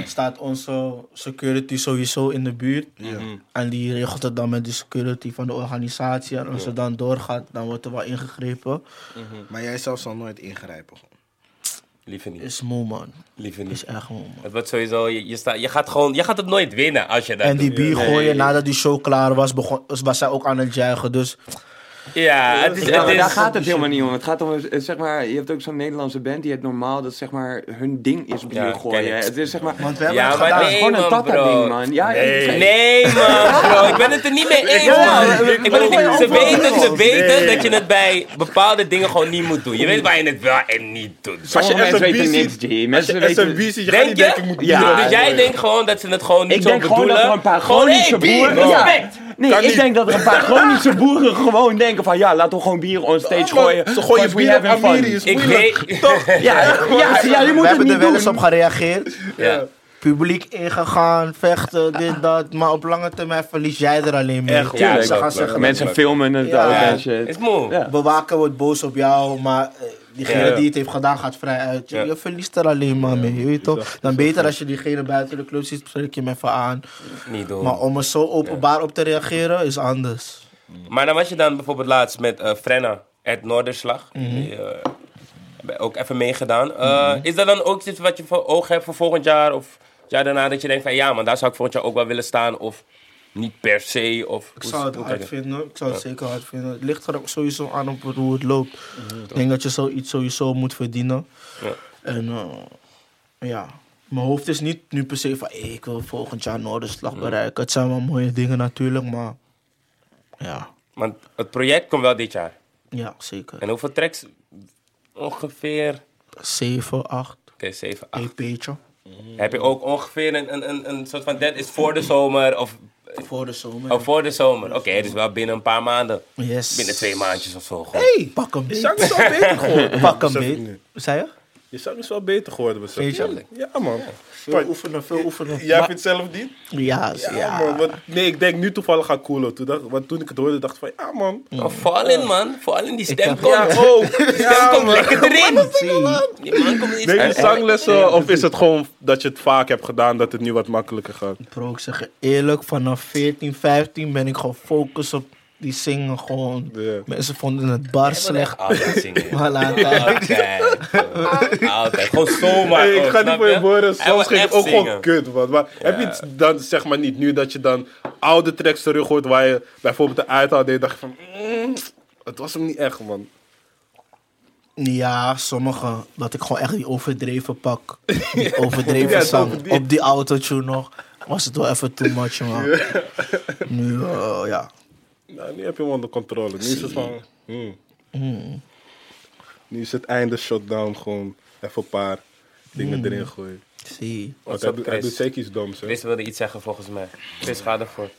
Speaker 3: staat onze security sowieso in de buurt.
Speaker 4: Mhm.
Speaker 3: En die regelt het dan met de security van de organisatie. En als het dan doorgaat, dan wordt er wel ingegrepen.
Speaker 5: Maar jij zelf zal nooit ingrijpen gewoon.
Speaker 1: Liever niet.
Speaker 3: Is moe, man.
Speaker 1: Liever niet.
Speaker 3: Is echt moe, man.
Speaker 1: Het wordt sowieso, je, je, staat- je gaat gewoon, je gaat het nooit winnen als je dat
Speaker 3: En die
Speaker 1: doet.
Speaker 3: bier gooien nadat die show klaar was, begon, was zij ook aan het juichen. Dus
Speaker 1: Ja, het is,
Speaker 4: Ja,
Speaker 1: het
Speaker 4: maar
Speaker 1: is,
Speaker 4: daar gaat het helemaal niet om. Het gaat om, eh, zeg maar, je hebt ook zo'n Nederlandse band die het normaal dat zeg maar hun ding is bier
Speaker 1: Ja,
Speaker 4: gooien.
Speaker 1: ken ik.
Speaker 4: Het is zeg maar,
Speaker 3: Want we hebben
Speaker 1: Ja,
Speaker 3: het
Speaker 1: maar
Speaker 3: gedaan.
Speaker 1: nee,
Speaker 4: gewoon een
Speaker 1: man,
Speaker 4: tata
Speaker 1: bro.
Speaker 4: ding man. Ja,
Speaker 2: Nee.
Speaker 4: ik-
Speaker 1: Nee man, bro, ik ben het er niet mee eens man. Ik ben het niet, ze weten, ze weten dat je het bij bepaalde dingen gewoon niet moet doen. Je weet waar je het wel en niet doet.
Speaker 2: Als je
Speaker 4: Sommige mensen
Speaker 2: SMB
Speaker 4: weten niks,
Speaker 2: ziet,
Speaker 4: G. Mensen
Speaker 2: als je
Speaker 4: weten-
Speaker 2: SMB ziet, je gaat
Speaker 1: Denk
Speaker 2: niet denken, ik
Speaker 1: je?
Speaker 2: moet bier
Speaker 1: Ja, dus
Speaker 2: op-
Speaker 1: jij denkt gewoon dat ze het gewoon niet
Speaker 4: Ik
Speaker 1: zo
Speaker 4: denk gewoon
Speaker 1: bedoelen.
Speaker 4: dat er een paar Groningse
Speaker 1: hey, bier,
Speaker 4: boeren.
Speaker 1: man.
Speaker 4: Ja, nee,
Speaker 2: Kan
Speaker 4: ik
Speaker 2: niet.
Speaker 4: denk dat er een paar Groningse boeren gewoon denken van ja, laten we gewoon bier on stage
Speaker 2: man,
Speaker 4: gooien.
Speaker 2: ze gooien
Speaker 4: cause we
Speaker 2: bier op
Speaker 4: having fun.
Speaker 2: Amiri, is
Speaker 1: Ik
Speaker 2: moeilijk.
Speaker 1: weet...
Speaker 4: Ja, ja, ja, ja, je moet
Speaker 3: we
Speaker 4: het
Speaker 3: hebben
Speaker 4: niet
Speaker 3: er wel
Speaker 4: doen.
Speaker 3: eens op gereageerd.
Speaker 1: Ja.
Speaker 3: Publiek ingegaan, vechten, dit, dat. Maar op lange termijn verlies jij er alleen mee.
Speaker 2: Echt,
Speaker 3: Tuurlijk,
Speaker 1: ja,
Speaker 3: ze
Speaker 1: klopt,
Speaker 3: gaan
Speaker 1: klopt.
Speaker 3: zeggen,
Speaker 4: Mensen filmen het
Speaker 3: Ja.
Speaker 4: ook en
Speaker 1: Het
Speaker 4: shit.
Speaker 1: is moe.
Speaker 4: Ja.
Speaker 3: bewaken wordt boos op jou, maar eh, diegene
Speaker 2: Ja.
Speaker 3: die het heeft gedaan gaat vrij uit. Je,
Speaker 1: Ja.
Speaker 3: je verliest er alleen maar mee, je weet toch? Dan beter als je diegene buiten de club ziet, spreek je hem even aan.
Speaker 1: Niet doen.
Speaker 3: Maar om er zo openbaar op te reageren is anders.
Speaker 1: Maar dan was je dan bijvoorbeeld laatst met eh, Frenna, Ed Noorderslag. Die, eh, hebben ook even meegedaan. Eh, Is dat dan ook iets wat je voor oog hebt voor volgend jaar? Of het jaar daarna dat je denkt van ja man, daar zou ik volgend jaar ook wel willen staan. Of niet per se. Of,
Speaker 3: Ik zou het hard vinden, ik zou het zeker hard vinden. Het ligt er ook sowieso aan op hoe het loopt. Ik denk dat je zoiets sowieso moet verdienen.
Speaker 1: Mhm, Ja.
Speaker 3: En eh, ja, mijn hoofd is niet nu per se van "Hey, ik wil volgend jaar Noorderslag bereiken. Het zijn wel mooie dingen natuurlijk, maar ja,
Speaker 1: Want het project komt wel dit jaar.
Speaker 3: ja zeker.
Speaker 1: En hoeveel tracks? Ongeveer
Speaker 3: 7, 8
Speaker 1: oké, 7,
Speaker 3: E
Speaker 1: 8.
Speaker 3: EP'tje.
Speaker 1: Heb je ook ongeveer een, een, een, een soort van dat is voor de zomer of,
Speaker 3: Voor de zomer.
Speaker 1: of voor de zomer. Oké, dus wel binnen een paar maanden.
Speaker 3: Yes.
Speaker 1: Binnen twee maandjes of zo. gewoon.
Speaker 3: Hey, pak hem beet.
Speaker 2: Zang is al beter gewoon.
Speaker 3: Pak hem
Speaker 2: Besef ik
Speaker 3: beet. Zei je?
Speaker 2: Je zang is wel beter geworden, besef
Speaker 3: Weet je? Tuurlijk.
Speaker 2: Ja, man.
Speaker 5: Veel
Speaker 2: Maar
Speaker 5: oefenen, veel oefenen.
Speaker 2: Jij vindt zelf niet?
Speaker 3: Ja,
Speaker 2: Ja,
Speaker 3: ja.
Speaker 2: man. Want, nee, ik denk nu toevallig aan Koelo. Toen dacht, want toen ik het hoorde, dacht ik van, ja, man.
Speaker 1: Maar Vooral in, man. Vooral in die stem
Speaker 3: heb-
Speaker 1: komt.
Speaker 2: Oh. Ja, oh.
Speaker 1: stem
Speaker 2: Ja,
Speaker 1: komt
Speaker 2: man.
Speaker 1: lekker erin.
Speaker 3: Zie.
Speaker 1: Die man komt niet
Speaker 2: Neem je zanglessen of is het gewoon dat je het vaak hebt gedaan dat het nu wat makkelijker gaat?
Speaker 3: Bro, ik zeg je eerlijk, vanaf 14, 15 ben ik gefocust op die zingen gewoon.
Speaker 2: Ja.
Speaker 3: Mensen vonden het bar slecht.
Speaker 1: Altijd zingen.
Speaker 3: Maar later.
Speaker 1: Altijd. bro. Altijd. Gewoon zomaar.
Speaker 2: Hey, ik
Speaker 1: gewoon,
Speaker 2: ga niet
Speaker 1: oh, snap
Speaker 2: voor je horen,
Speaker 1: Hij wil
Speaker 2: soms ging
Speaker 1: echt
Speaker 2: het ook
Speaker 1: zingen.
Speaker 2: gewoon kut, man. Maar heb je het dan, zeg maar niet nu, dat je dan oude tracks terug hoort waar je bijvoorbeeld de uithaal deed, dacht je van, mm, het was hem niet echt, man.
Speaker 3: Ja, sommige. Dat ik gewoon echt die overdreven pak. Die overdreven
Speaker 2: Ja, het
Speaker 3: zang.
Speaker 2: overdreven.
Speaker 3: Op die autotune nog. Was het wel even too much, man. Nu, eh, ja.
Speaker 2: Nou, nu heb je hem onder controle. Nu is het van, mm. Nu is het einde shutdown gewoon even een paar dingen erin gooien.
Speaker 3: Zie.
Speaker 2: Want
Speaker 1: What's
Speaker 2: hij,
Speaker 1: up,
Speaker 2: doet- hij
Speaker 1: Chris?
Speaker 2: doet zeker iets doms, hè.
Speaker 1: Chris wilde iets zeggen volgens mij. Chris, ga ervoor.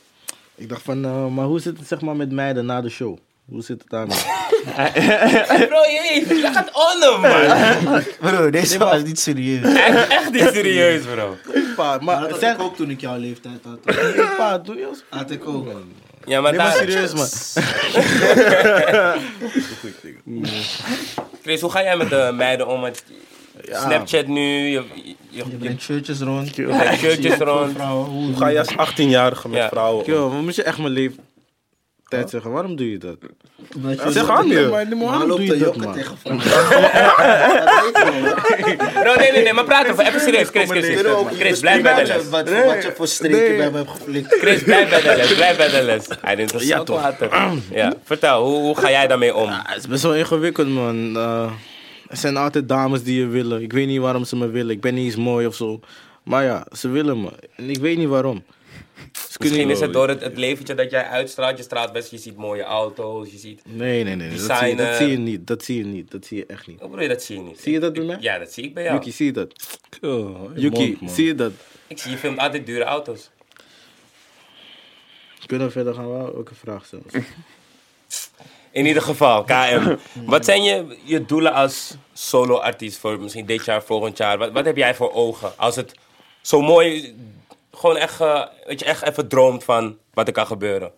Speaker 5: Ik dacht van, eh, maar hoe zit het zeg maar met meiden na de show? Hoe zit het aan?
Speaker 1: Bro, je je gaat on hem, man.
Speaker 3: Bro, deze was niet serieus.
Speaker 1: Echt, echt niet serieus, bro.
Speaker 5: Pa, maar
Speaker 3: Dat
Speaker 5: zijn
Speaker 3: ik ook toen ik jouw leeftijd had.
Speaker 5: Hey, pa, doe je als-
Speaker 3: Had ik ook.
Speaker 1: Ja, maar
Speaker 5: Nee, maar
Speaker 1: daar...
Speaker 5: serieus, man.
Speaker 1: Chris, hoe ga jij met de meiden om? Want Snapchat nu, je, je, je,
Speaker 3: Je
Speaker 1: je
Speaker 3: brengt shirtjes rond.
Speaker 1: brengt shirtjes rond.
Speaker 3: Vrouwen, hoe-
Speaker 2: Hoe ga je als 18-jarige met
Speaker 1: Ja.
Speaker 2: vrouwen om?
Speaker 5: Yo, maar moet je echt mijn leeftijd zeggen? Waarom doe je dat?
Speaker 3: Omdat je-
Speaker 2: Zeg aan je.
Speaker 5: Maar waarom
Speaker 3: loopt
Speaker 5: doe je
Speaker 3: de
Speaker 5: dat,
Speaker 3: jokken
Speaker 5: man?
Speaker 3: tegen vrouwen. Dat weet je wel.
Speaker 1: Bro, nee, nee, nee, maar praat even. Even serieus, Chris, Chris. Chris, Chris, Chris, blijf bij de les.
Speaker 3: Wat, wat je voor streken bij me hebt geflikt.
Speaker 1: Chris, blijf bij de les, blijf bij de les. Hij neemt een
Speaker 5: Ja,
Speaker 1: slok
Speaker 5: toch.
Speaker 1: water. Ja, vertel, hoe, hoe ga jij daarmee om?
Speaker 5: Ah, het is best wel ingewikkeld, man. Eh, er zijn altijd dames die je willen. Ik weet niet waarom ze me willen. Ik ben niet eens mooi of zo. Maar ja, ze willen me. En ik weet niet waarom. Ze kunnen-
Speaker 1: Misschien is het door het, het leventje dat jij uitstraalt. Je straalt best, je ziet mooie auto's, je ziet...
Speaker 5: Nee, nee, nee. nee. Dat, zie je, dat
Speaker 1: Designer.
Speaker 5: zie je niet. Dat zie je niet. Dat zie je echt niet.
Speaker 1: Hoe bedoel je, dat zie je niet?
Speaker 5: Zie je dat bij mij?
Speaker 1: Ja, dat zie ik bij jou.
Speaker 5: Yuki, zie je dat?
Speaker 2: Oh,
Speaker 5: Yuki, zie je dat?
Speaker 1: Ik zie, je filmt altijd dure auto's.
Speaker 5: Kunnen we verder gaan? Wou ook een vraag stellen.
Speaker 1: In ieder geval, KM.
Speaker 2: Mm.
Speaker 1: Wat zijn je, je doelen als solo-artiest voor misschien dit jaar, volgend jaar? Wat, wat heb jij voor ogen? Als het zo mooi, gewoon echt, eh, dat je echt even droomt van wat er kan gebeuren.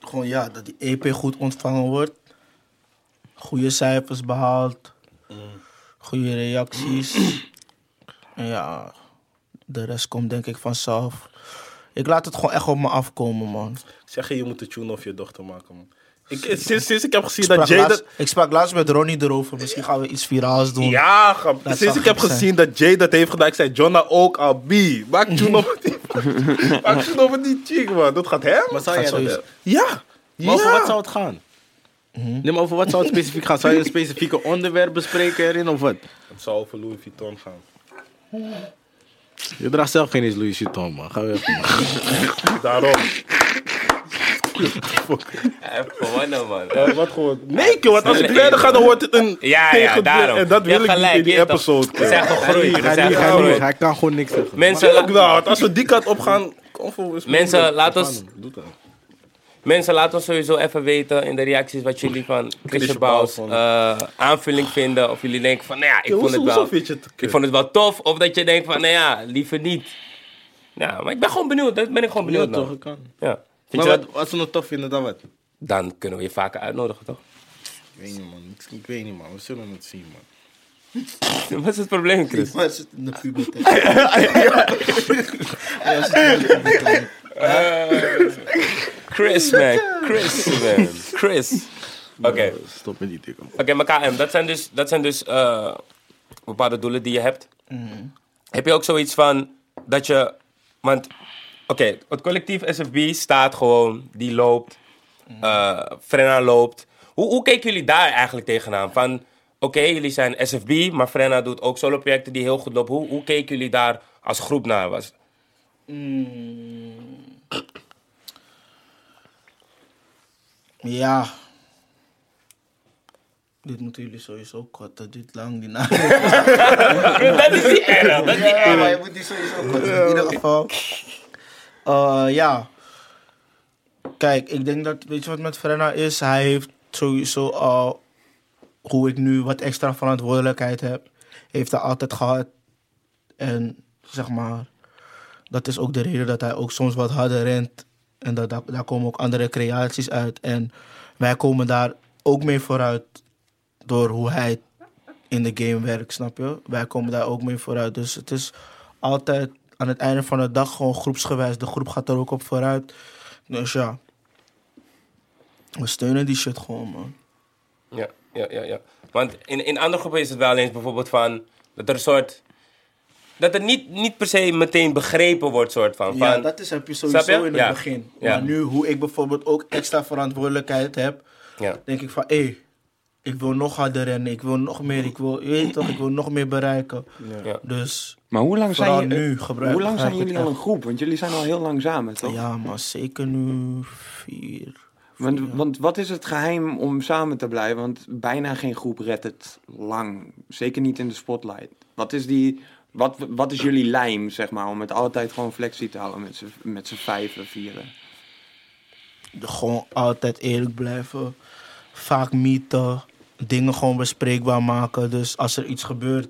Speaker 3: Gewoon ja, dat die EP goed ontvangen wordt. Goede cijfers behaald. Goede reacties. En ja, de rest komt denk ik vanzelf. Ik laat het gewoon echt op me afkomen, man.
Speaker 2: Zeg je, je moet de tune of je dochter maken, man. Ik, sinds, sinds ik heb gezien
Speaker 3: Ik
Speaker 2: dat
Speaker 3: sprak,
Speaker 2: Jay
Speaker 3: laatst,
Speaker 2: dat...
Speaker 3: ik sprak laatst met Ronnie erover. Misschien gaan we iets viraals doen.
Speaker 2: Ja, grap.
Speaker 3: Dat
Speaker 2: Sinds
Speaker 3: zou
Speaker 2: ik heb
Speaker 3: gek zijn.
Speaker 2: gezien dat Jay dat heeft gedaan, ik zei, Jonna ook, Abi. Maak tune over die... Maak tune over die chick, man. Dat gaat hem.
Speaker 5: Maar zou jij
Speaker 3: Gaat
Speaker 5: dat
Speaker 3: sowieso-
Speaker 5: doen?
Speaker 2: Ja.
Speaker 5: Maar over
Speaker 2: Ja.
Speaker 5: wat zou het gaan? Nee, maar over wat zou het specifiek gaan? Zou je een specifieke onderwerp bespreken erin of wat?
Speaker 2: Het zou over Louis Vuitton gaan.
Speaker 5: Je draagt zelf geen eens Louis Vuitton, man. Ga weg, man.
Speaker 2: Daarom.
Speaker 1: Even gewonnen, man.
Speaker 2: Eh, wat gewoon... Nee, keer, want als ik
Speaker 1: Nee.
Speaker 2: verder ga, dan wordt het een...
Speaker 1: Ja, ja,
Speaker 2: tegendeel.
Speaker 1: daarom.
Speaker 2: En dat
Speaker 1: Je
Speaker 2: wil
Speaker 1: hebt
Speaker 2: ik niet in
Speaker 1: gelijk,
Speaker 2: die
Speaker 1: je hebt
Speaker 2: episode.
Speaker 1: We zijn gegroeid, we
Speaker 5: Ga
Speaker 1: zijn
Speaker 5: niet, ga niet.
Speaker 1: gegroeid.
Speaker 5: Hij kan gewoon niks zeggen.
Speaker 1: Mensen,
Speaker 2: Ook
Speaker 1: la-
Speaker 2: nou, want als we die kant op gaan... Convo is
Speaker 1: mensen, laat
Speaker 5: Ga
Speaker 1: ons,
Speaker 5: hem, doe dat.
Speaker 1: mensen, laat ons sowieso even weten in de reacties wat jullie van Christian Bouws eh, aanvulling vinden. Of jullie denken van, nou ja, ik
Speaker 2: Yo,
Speaker 1: vond
Speaker 2: hoezo-
Speaker 1: het
Speaker 2: hoezo
Speaker 1: wel...
Speaker 2: vind je het kut?
Speaker 1: Ik vond het wel tof. Of dat je denkt van, nou ja, liever niet. Nou, maar ik ben gewoon benieuwd. Dat ben ik gewoon
Speaker 5: Ja,
Speaker 1: benieuwd
Speaker 5: toch,
Speaker 1: naar.
Speaker 5: ik kan.
Speaker 1: Ja. Vind
Speaker 5: Maar
Speaker 1: nou. je dat?
Speaker 5: wat, als ze het tof vinden, dan wat?
Speaker 1: Dan kunnen we je vaker uitnodigen, toch?
Speaker 5: Ik weet niet, man. Ik, ik weet niet, man. We zullen het zien, man.
Speaker 1: Wat is het probleem, Chris?
Speaker 3: Maar het zit in de puberteit. Ja, het zit in de puberteit.
Speaker 1: Eh, Chris, man. Chris, man. Chris. Oké, oké,
Speaker 5: Stop met die dikke.
Speaker 1: maar KM, dat zijn dus, dat zijn dus eh, bepaalde doelen die je hebt. Heb je ook zoiets van dat je. Want, oké, het collectief SFB staat gewoon, die loopt. eh Frenna loopt. Hoe, hoe keken jullie daar eigenlijk tegenaan? Van, oké, jullie zijn SFB, maar Frenna doet ook solo-projecten die heel goed lopen. Hoe, hoe keken jullie daar als groep naar? Was?
Speaker 3: Ja. Dit moeten jullie sowieso kort. Dat duurt lang, die naam.
Speaker 1: dat is die erg. Dat is die
Speaker 3: Ja, maar je moet die sowieso kort. In ieder geval. Eh, ja. Kijk, ik denk dat, weet je wat met Frenna is? Hij heeft sowieso al hoe ik nu wat extra verantwoordelijkheid heb, heeft hij altijd gehad. En zeg maar, dat is ook de reden dat hij ook soms wat harder rent. En dat, daar, daar komen ook andere creaties uit. En wij komen daar ook mee vooruit door hoe hij in de game werkt, snap je? Wij komen daar ook mee vooruit. Dus het is altijd aan het einde van de dag gewoon groepsgewijs. De groep gaat er ook op vooruit. Dus ja, we steunen die shit gewoon, man.
Speaker 1: Ja, ja, ja, ja. Want in, in andere groepen is het wel eens bijvoorbeeld van dat er een soort. Dat er niet, niet per se meteen begrepen wordt, soort van.
Speaker 3: Ja,
Speaker 1: van
Speaker 3: dat is, heb je
Speaker 1: Snap je?
Speaker 3: sowieso in het
Speaker 1: Ja.
Speaker 3: begin.
Speaker 1: Ja.
Speaker 3: Maar nu, hoe ik bijvoorbeeld ook extra verantwoordelijkheid heb,
Speaker 1: ja.
Speaker 3: denk ik van, hé, ik wil nog harder rennen, ik wil nog meer, ik wil, je weet toch, ik wil nog meer bereiken.
Speaker 1: Ja.
Speaker 3: Dus,
Speaker 4: Maar hoe lang
Speaker 3: Vooral
Speaker 4: zijn, je-
Speaker 3: nu gebruik-
Speaker 4: hoe lang zijn
Speaker 3: gebruik ik
Speaker 4: jullie al
Speaker 3: echt.
Speaker 4: een groep? Want jullie zijn al heel lang samen, toch?
Speaker 3: ja, maar zeker nu vier.
Speaker 4: Want, want wat is het geheim om samen te blijven? Want bijna geen groep redt het lang. Zeker niet in de spotlight. Wat is, die, wat, wat is jullie lijm, zeg maar, om het altijd gewoon flexie te houden met z'n- met z'n vijven, vieren?
Speaker 3: Gewoon altijd eerlijk blijven, vaak mieten, dingen gewoon bespreekbaar maken. Dus als er iets gebeurt,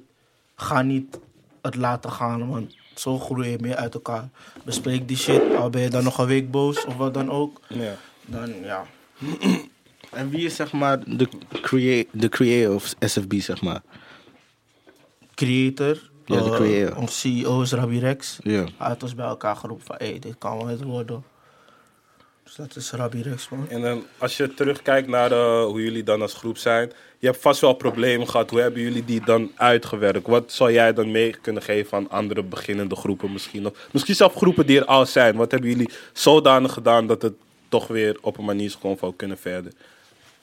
Speaker 3: ga niet het laten gaan, want zo groei je meer uit elkaar. Bespreek die shit, al ben je dan nog een week boos of wat dan ook,
Speaker 2: Ja.
Speaker 3: dan ja.
Speaker 5: En wie is zeg maar de, crea de creator of SFB, zeg maar?
Speaker 3: creator.
Speaker 5: Ja, de
Speaker 3: eh,
Speaker 5: creator.
Speaker 3: Ons CEO is Rabbi Rex.
Speaker 5: Ja.
Speaker 3: Hij had ons bij elkaar geroepen van, hé, hey, dit kan wel het worden. Dus dat is Rabbi Rex, man.
Speaker 2: En dan als je terugkijkt naar eh, hoe jullie dan als groep zijn. Je hebt vast wel problemen gehad. Hoe hebben jullie die dan uitgewerkt? Wat zou jij dan mee kunnen geven aan andere beginnende groepen misschien? Of misschien zelf groepen die er al zijn. Wat hebben jullie zodanig gedaan dat het toch weer op een manier is gewoon van we kunnen verder?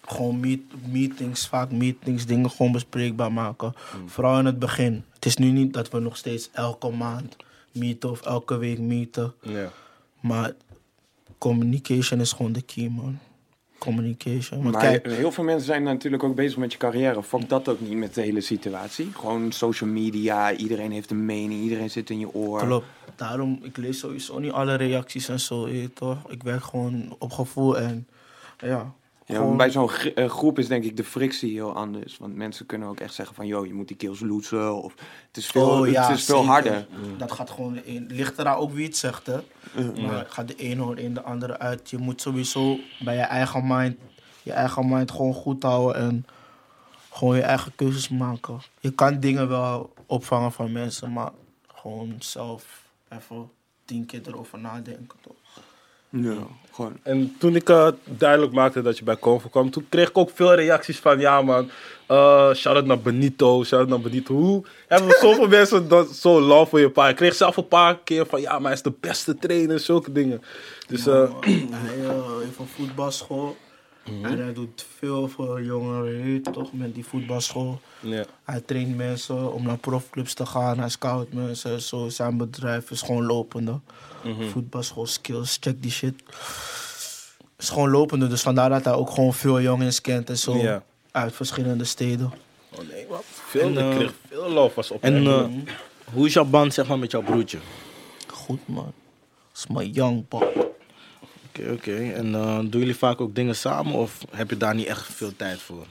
Speaker 3: Gewoon meet- meetings, vaak meetings, dingen gewoon bespreekbaar maken.
Speaker 4: Hmm.
Speaker 3: Vooral in het begin. Het is nu niet dat we nog steeds elke maand meeten of elke week meeten.
Speaker 4: Hmm.
Speaker 2: Ja.
Speaker 3: Maar communication is gewoon de key, man. Communication. Want
Speaker 4: Maar
Speaker 3: kijk,
Speaker 4: heel veel mensen zijn natuurlijk ook bezig met je carrière. Fuck dat ook niet met de hele situatie. Gewoon social media, iedereen heeft een mening, iedereen zit in je oor.
Speaker 3: Klopt. Daarom, ik lees sowieso niet alle reacties en zo, je weet toch? Ik werk gewoon op gevoel en ja.
Speaker 4: Ja,
Speaker 3: gewoon-
Speaker 4: maar bij zo'n gr- eh, groep is denk ik de frictie heel anders. Want mensen kunnen ook echt zeggen van, yo, je moet die kills lootsen. Of, het is veel,
Speaker 3: Oh, ja,
Speaker 4: het is veel
Speaker 3: zeker.
Speaker 4: harder. Mm.
Speaker 3: Dat gaat gewoon, in, ligt eraan ook wie het zegt, hè. Maar gaat de ene hoor in de andere uit. Je moet sowieso bij je eigen mind, je eigen mind gewoon goed houden en gewoon je eigen keuzes maken. Je kan dingen wel opvangen van mensen, maar gewoon zelf even tien keer erover nadenken, toch?
Speaker 4: Ja, gewoon.
Speaker 2: En toen ik eh, duidelijk maakte dat je bij Convo kwam, toen kreeg ik ook veel reacties van ja man, eh shout-out naar Benito, shout-out naar Benito. Hoe hebben zoveel mensen dan zo love voor je pa? Ik kreeg zelf een paar keer van ja, maar hij is de beste trainer, zulke dingen. Dus eh,
Speaker 3: Hij eh, heeft een voetbalschool.
Speaker 4: Mm.
Speaker 3: En hij doet veel voor jongeren, je weet toch, met die voetbalschool.
Speaker 2: ja.
Speaker 3: Hij traint mensen om naar profclubs te gaan. Hij scout mensen en zo. Zijn bedrijf is gewoon lopende. Voetbalschool, skills, check die shit. Is gewoon lopende, dus vandaar dat hij ook gewoon veel jongens kent en zo.
Speaker 2: Ja.
Speaker 3: Uit verschillende steden.
Speaker 2: Oh nee, wat? Veel,
Speaker 5: En, eh,
Speaker 2: ik kreeg veel love was op.
Speaker 5: En eh, hoe is jouw band zeg maar met jouw broertje?
Speaker 3: Goed man. is mijn young pop.
Speaker 5: Oké, oké. En eh, doen jullie vaak ook dingen samen of heb je daar niet echt veel tijd voor?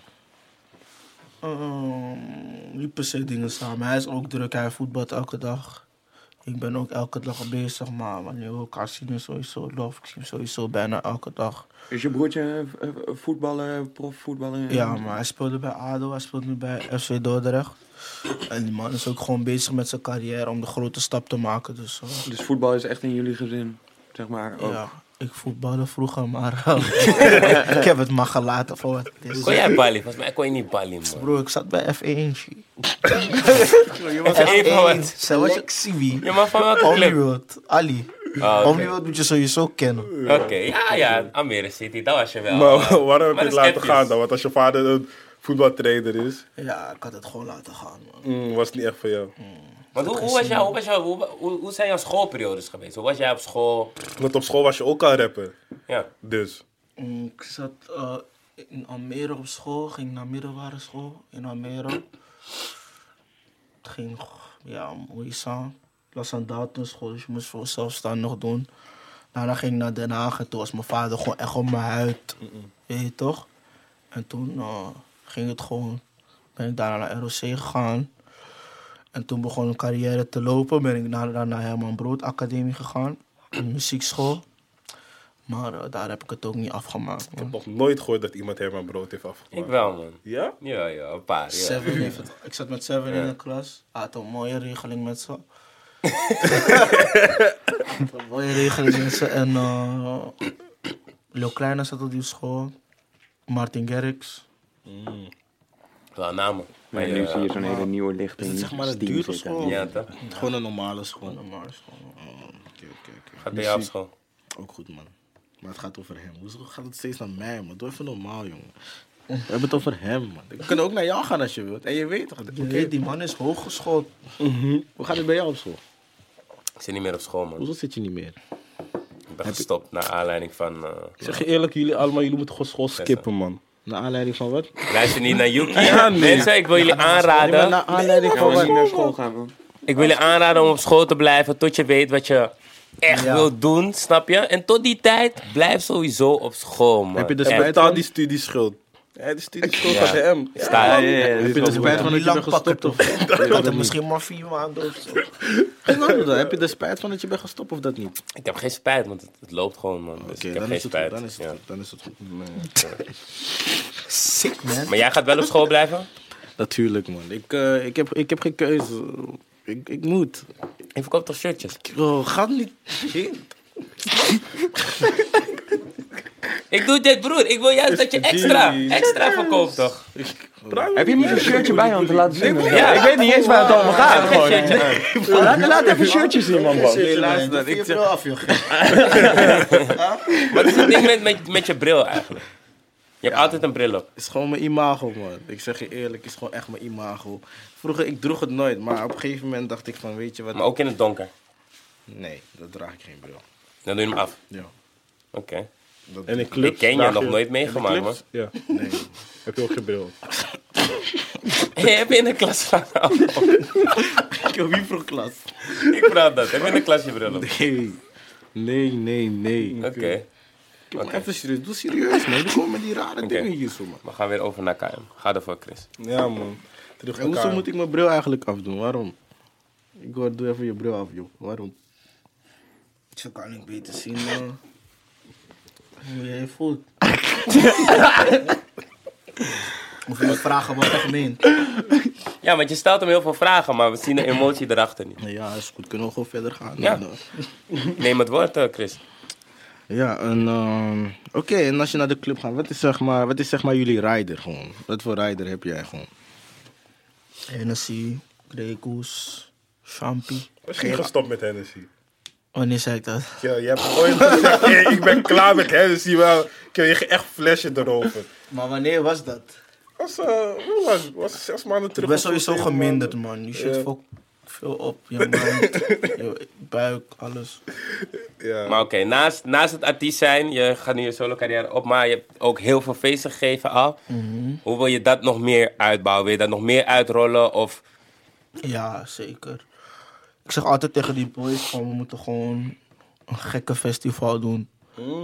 Speaker 3: Ehm, niet per se dingen samen. Hij is ook druk, hij voetbalt elke dag. Ik ben ook elke dag bezig, maar wanneer we elkaar zien is sowieso love. Ik zie hem sowieso bijna elke dag.
Speaker 4: Is je broertje eh, eh, voetballer, profvoetballer?
Speaker 3: Ja, maar hij speelde bij ADO, hij speelt nu bij FC Dordrecht. En die man is ook gewoon bezig met zijn carrière om de grote stap te maken. Dus eh,
Speaker 4: Dus voetbal is echt in jullie gezin, zeg maar. ook.
Speaker 3: ja, ik voetbalde vroeger, maar eh, ik heb het maar gelaten voor wat het is.
Speaker 1: Kon jij Bali? Volgens mij kon je niet Bali, man.
Speaker 3: Bro, ik zat bij F1. G.
Speaker 1: Even
Speaker 3: F1,
Speaker 1: wat.
Speaker 3: selectie wie?
Speaker 1: Ja, maar van welke club?
Speaker 3: Omniworld, Ali.
Speaker 1: Ah, oké.
Speaker 3: Omniworld moet je sowieso kennen.
Speaker 1: Oké, ja, ja. Amere City, dat was je wel.
Speaker 2: maar waarom
Speaker 1: maar
Speaker 2: heb je het
Speaker 1: dat is
Speaker 2: laten gaan
Speaker 1: appjes.
Speaker 2: dan? Want als je vader een voetbaltrainer is,
Speaker 3: Ja, ik had het gewoon laten gaan, man.
Speaker 2: mm, was het niet echt voor jou.
Speaker 1: Want hoe, hoe, was jou, hoe, was jou, hoe, hoe, hoe zijn jouw schoolperiodes geweest? Hoe was jij op school?
Speaker 2: Want op school was je ook al rapper,
Speaker 1: Ja.
Speaker 2: dus.
Speaker 3: Mm, Ik zat eh, in Almere op school, ging naar middelbare school in Almere. Het ging, ja, moeizaam. Ik was aan datenschool, dus je moest voor zelfstandig nog doen. Daarna ging ik naar Den Haag en toen was mijn vader gewoon echt op mijn huid. Weet je toch? En toen eh, nou, ging het gewoon ben ik daarna naar ROC gegaan. En toen begon mijn carrière te lopen. Ben ik daarna naar Herman Brood Academie gegaan. Een muziekschool. Maar eh, daar heb ik het ook niet afgemaakt.
Speaker 2: Ik heb
Speaker 3: man.
Speaker 2: nog nooit gehoord dat iemand Herman Brood heeft afgemaakt.
Speaker 1: Ik wel, man.
Speaker 2: Ja?
Speaker 1: Ja, ja, een paar. Ja.
Speaker 3: Seven heeft het- Ik zat met Seven in de klas. Hij had een mooie regeling met ze. Had een mooie regeling met ze. En eh Leo Kleine zat op die school. Martin Gerricks.
Speaker 1: Wel namen.
Speaker 4: Maar
Speaker 1: Maar
Speaker 4: nu
Speaker 1: ja,
Speaker 4: zie je zo'n hele nieuwe lichting.
Speaker 5: Is het zeg maar een
Speaker 4: Steam
Speaker 5: dure
Speaker 4: zitten.
Speaker 5: school?
Speaker 1: Ja, toch?
Speaker 5: Gewoon een normale school. Oké,
Speaker 3: Normaal school.
Speaker 5: oké, oké.
Speaker 1: Gaat bij jou op school.
Speaker 5: Ook goed, man. Maar het gaat over hem. Hoezo gaat het steeds naar mij, man? Doe even normaal, jongen. We hebben het over hem, man. We kunnen ook naar jou gaan als je wilt. En je weet toch? Oké,
Speaker 3: Je weet, die man is hooggeschoold.
Speaker 5: hoe gaat het bij jou op school?
Speaker 1: Ik zit niet meer op school, man.
Speaker 5: Hoezo zit je niet meer?
Speaker 1: Ik ben gestopt naar aanleiding van... eh,
Speaker 2: Ik zeg je eerlijk, jullie allemaal, jullie moeten gewoon school skippen, man.
Speaker 5: Naar aanleiding van wat?
Speaker 1: Luister niet naar Yuki. Mensen, ik wil jullie aanraden...
Speaker 5: naar aanleiding
Speaker 4: Ja,
Speaker 5: van
Speaker 4: maar niet
Speaker 5: wat?
Speaker 4: naar school gaan, man.
Speaker 1: Ik wil je aanraden om op school te blijven tot je weet wat je echt
Speaker 3: Ja.
Speaker 1: wilt doen, snap je? En tot die tijd, blijf sowieso op school, man.
Speaker 5: Heb je de
Speaker 1: Echt.
Speaker 2: Hij
Speaker 5: spijt
Speaker 2: betaalt die studieschuld. Ja, die studieschuld gaat
Speaker 1: Ja.
Speaker 2: hem.
Speaker 1: Sta-
Speaker 4: Ja, ja, ja.
Speaker 5: Heb je de spijt van dat
Speaker 3: Die
Speaker 5: je bent
Speaker 3: lang pakken
Speaker 5: gestopt?
Speaker 3: toch?
Speaker 5: Of?
Speaker 3: Ik had hem misschien maar vier maanden of zo.
Speaker 5: Geen andere dan. Heb je de spijt van dat je bent gestopt of dat niet?
Speaker 1: Ik heb geen spijt, want het, het loopt gewoon, man. Dus
Speaker 5: Oké,
Speaker 1: ik heb
Speaker 5: dan
Speaker 1: geen
Speaker 5: is het goed.
Speaker 1: spijt.
Speaker 5: Dan is het
Speaker 1: Ja.
Speaker 5: goed. Dan is het goed.
Speaker 3: Sick man.
Speaker 1: Maar jij gaat wel op school blijven?
Speaker 5: Natuurlijk, man. Ik, eh, ik, heb, ik heb geen keuze. Ik, ik moet.
Speaker 1: Ik verkoop toch shirtjes?
Speaker 5: Oh, gaat niet.
Speaker 1: Ik doe dit, broer. Ik wil juist dat je extra,
Speaker 2: Jeez.
Speaker 1: extra verkoopt, toch?
Speaker 4: Heb je niet een shirtje bij om te laten zien?
Speaker 1: Ja.
Speaker 4: Ik weet niet eens waar het allemaal
Speaker 1: Ik
Speaker 4: gaat.
Speaker 1: heb
Speaker 4: gewoon.
Speaker 1: geen shirtje aan.
Speaker 4: Laat, laat even shirtjes zien, man. man.
Speaker 5: Nee,
Speaker 3: Luister,
Speaker 5: dat
Speaker 3: ik
Speaker 5: ik
Speaker 3: zeg...
Speaker 5: zeg-
Speaker 3: af, joh.
Speaker 1: Wat is het ding met, met, met je bril eigenlijk? Je hebt altijd een bril op.
Speaker 5: Het is gewoon mijn imago, man. Ik zeg je eerlijk, het is gewoon echt mijn imago. Vroeger, ik droeg het nooit, maar op een gegeven moment dacht ik van, weet je wat?
Speaker 1: Maar ook in het donker.
Speaker 5: Nee, dat draag ik geen bril.
Speaker 1: Dan doe je hem af.
Speaker 5: Ja.
Speaker 1: Oké.
Speaker 5: Dat,
Speaker 2: En in
Speaker 1: Ik
Speaker 2: clubs
Speaker 1: ken je
Speaker 2: draag
Speaker 1: nog nooit
Speaker 2: in de
Speaker 1: meegemaakt, man.
Speaker 2: clubs? Ja,
Speaker 5: nee.
Speaker 2: heb je ook geen bril.
Speaker 1: Hey, heb je in de klas van
Speaker 5: ik heb wie vroeg klas?
Speaker 1: Ik praat dat. Heb je in de klas je bril op?
Speaker 5: Nee. Nee, nee, nee.
Speaker 1: Oké,
Speaker 5: Kijk, maar even serieus. Doe serieus, man. Doe gewoon met die rare dingen hier zo, man.
Speaker 1: we gaan weer over naar KM. Ga ervoor, Chris.
Speaker 2: Ja, man. Terug
Speaker 5: En hoezo moet ik mijn bril eigenlijk afdoen? Waarom? Ik hoor, doe even je bril af, joh. Waarom?
Speaker 3: Zo kan ik beter zien man. hoe jij je voelt. Of je moet vragen wat echt meent.
Speaker 1: Ja, want je stelt hem heel veel vragen, maar we zien de emotie erachter niet.
Speaker 5: Nou Ja, is goed. Kunnen we gewoon verder gaan?
Speaker 1: Ja.
Speaker 5: Nou,
Speaker 1: Neem het woord, eh, Chris.
Speaker 5: Ja, en ehm, oké, en als je naar de club gaat, wat is zeg maar, wat is zeg maar jullie rider gewoon? Wat voor rider heb jij gewoon?
Speaker 3: Hennessy, Gregoes, Champi.
Speaker 2: Misschien gestopt met Hennessy.
Speaker 3: Wanneer zei ik dat?
Speaker 2: Ja, je hebt ooit gezegd, hey, ik ben klaar met Hennessy, maar ik heb je echt flesje erover.
Speaker 3: Maar wanneer was dat?
Speaker 2: Dat was, eh, hoe was, het? was zes maanden
Speaker 3: Ik
Speaker 2: terug.
Speaker 3: ben
Speaker 2: of zo,
Speaker 3: sowieso
Speaker 2: zeven
Speaker 3: geminderd
Speaker 2: maanden.
Speaker 3: man. Die shit
Speaker 2: Ja.
Speaker 3: fokt veel op. Je mind, je buik, alles.
Speaker 2: Ja.
Speaker 1: Maar oké, naast, naast het artiest zijn, je gaat nu je solo carrière op, maar je hebt ook heel veel feesten gegeven al. Hoe wil je dat nog meer uitbouwen? Wil je dat nog meer uitrollen? Of
Speaker 3: Ja, zeker. Ik zeg altijd tegen die boys van we moeten gewoon een gekke festival doen.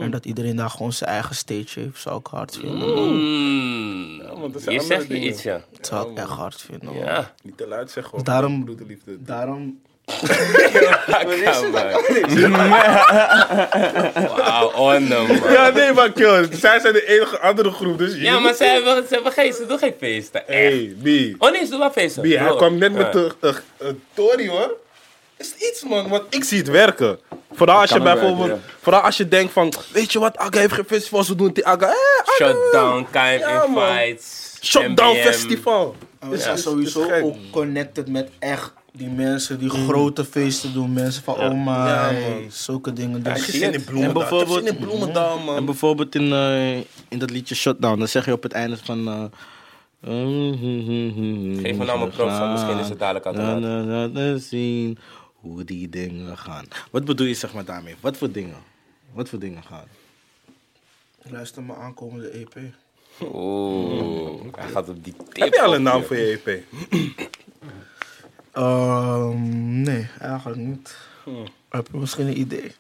Speaker 3: En dat iedereen daar gewoon zijn eigen stage heeft, zou ik hard vinden. man.
Speaker 1: Hmm,
Speaker 2: want er zijn
Speaker 1: hier
Speaker 2: andere
Speaker 1: zeg je
Speaker 2: dingen.
Speaker 1: iets, ja.
Speaker 3: Dat zou ik echt hard vinden. man.
Speaker 1: Ja,
Speaker 2: Niet te luid zeggen, hoor.
Speaker 3: Daarom-
Speaker 2: Broederliefde.
Speaker 3: Daarom,
Speaker 1: Kom maar. Wauw, on man.
Speaker 2: Ja, nee, maar kill. Zij zijn de enige andere groep, dus...
Speaker 1: Ja, maar ze hebben, ze hebben geen, ze doen geen feesten. Echt.
Speaker 2: Hey, B.
Speaker 1: Oh nee, ze doen wel feesten.
Speaker 2: B, hij
Speaker 1: Doe.
Speaker 2: kwam net
Speaker 1: Ja.
Speaker 2: met een uh, Tori, hoor. Is iets, man, want ik zie het werken. Vooral als je
Speaker 4: kan ook
Speaker 2: bijvoorbeeld...
Speaker 4: werken,
Speaker 2: Vooral als je denkt van... Weet je wat, Aga heeft geen festival, ze doen het in Aga. Eh, Aga.
Speaker 1: Shutdown, KM
Speaker 2: Ja, man.
Speaker 1: Invites.
Speaker 2: Shutdown
Speaker 1: MBM.
Speaker 2: Festival.
Speaker 3: we zijn
Speaker 2: is- is
Speaker 3: sowieso
Speaker 2: gek.
Speaker 3: ook connected met echt die mensen die grote feesten doen. Mensen van oma,
Speaker 2: Mm. Ja,
Speaker 3: hey,
Speaker 2: man.
Speaker 3: zulke dingen.
Speaker 2: Ik
Speaker 3: Dus
Speaker 2: heb zin in Bloemendaal.
Speaker 5: En bijvoorbeeld-
Speaker 2: Ik heb zin in Bloemendaal,
Speaker 5: En
Speaker 2: man.
Speaker 5: bijvoorbeeld in, eh, in dat liedje Shutdown, dan zeg je op het einde van... eh, mm,
Speaker 1: Geef me nou mijn props, want misschien is het dadelijk uit de
Speaker 5: Laat-
Speaker 1: hand.
Speaker 5: laat- laten zien hoe die dingen gaan. Wat bedoel je zeg maar daarmee? Wat voor dingen? Wat voor dingen gaan?
Speaker 3: luister mijn aankomende E EP.
Speaker 1: Oeh, hij gaat op die tip.
Speaker 2: Heb je E al
Speaker 1: op,
Speaker 2: een naam
Speaker 1: joh.
Speaker 2: voor je EP?
Speaker 3: Ehm, nee, eigenlijk niet.
Speaker 2: Hmm.
Speaker 3: Heb je misschien een idee?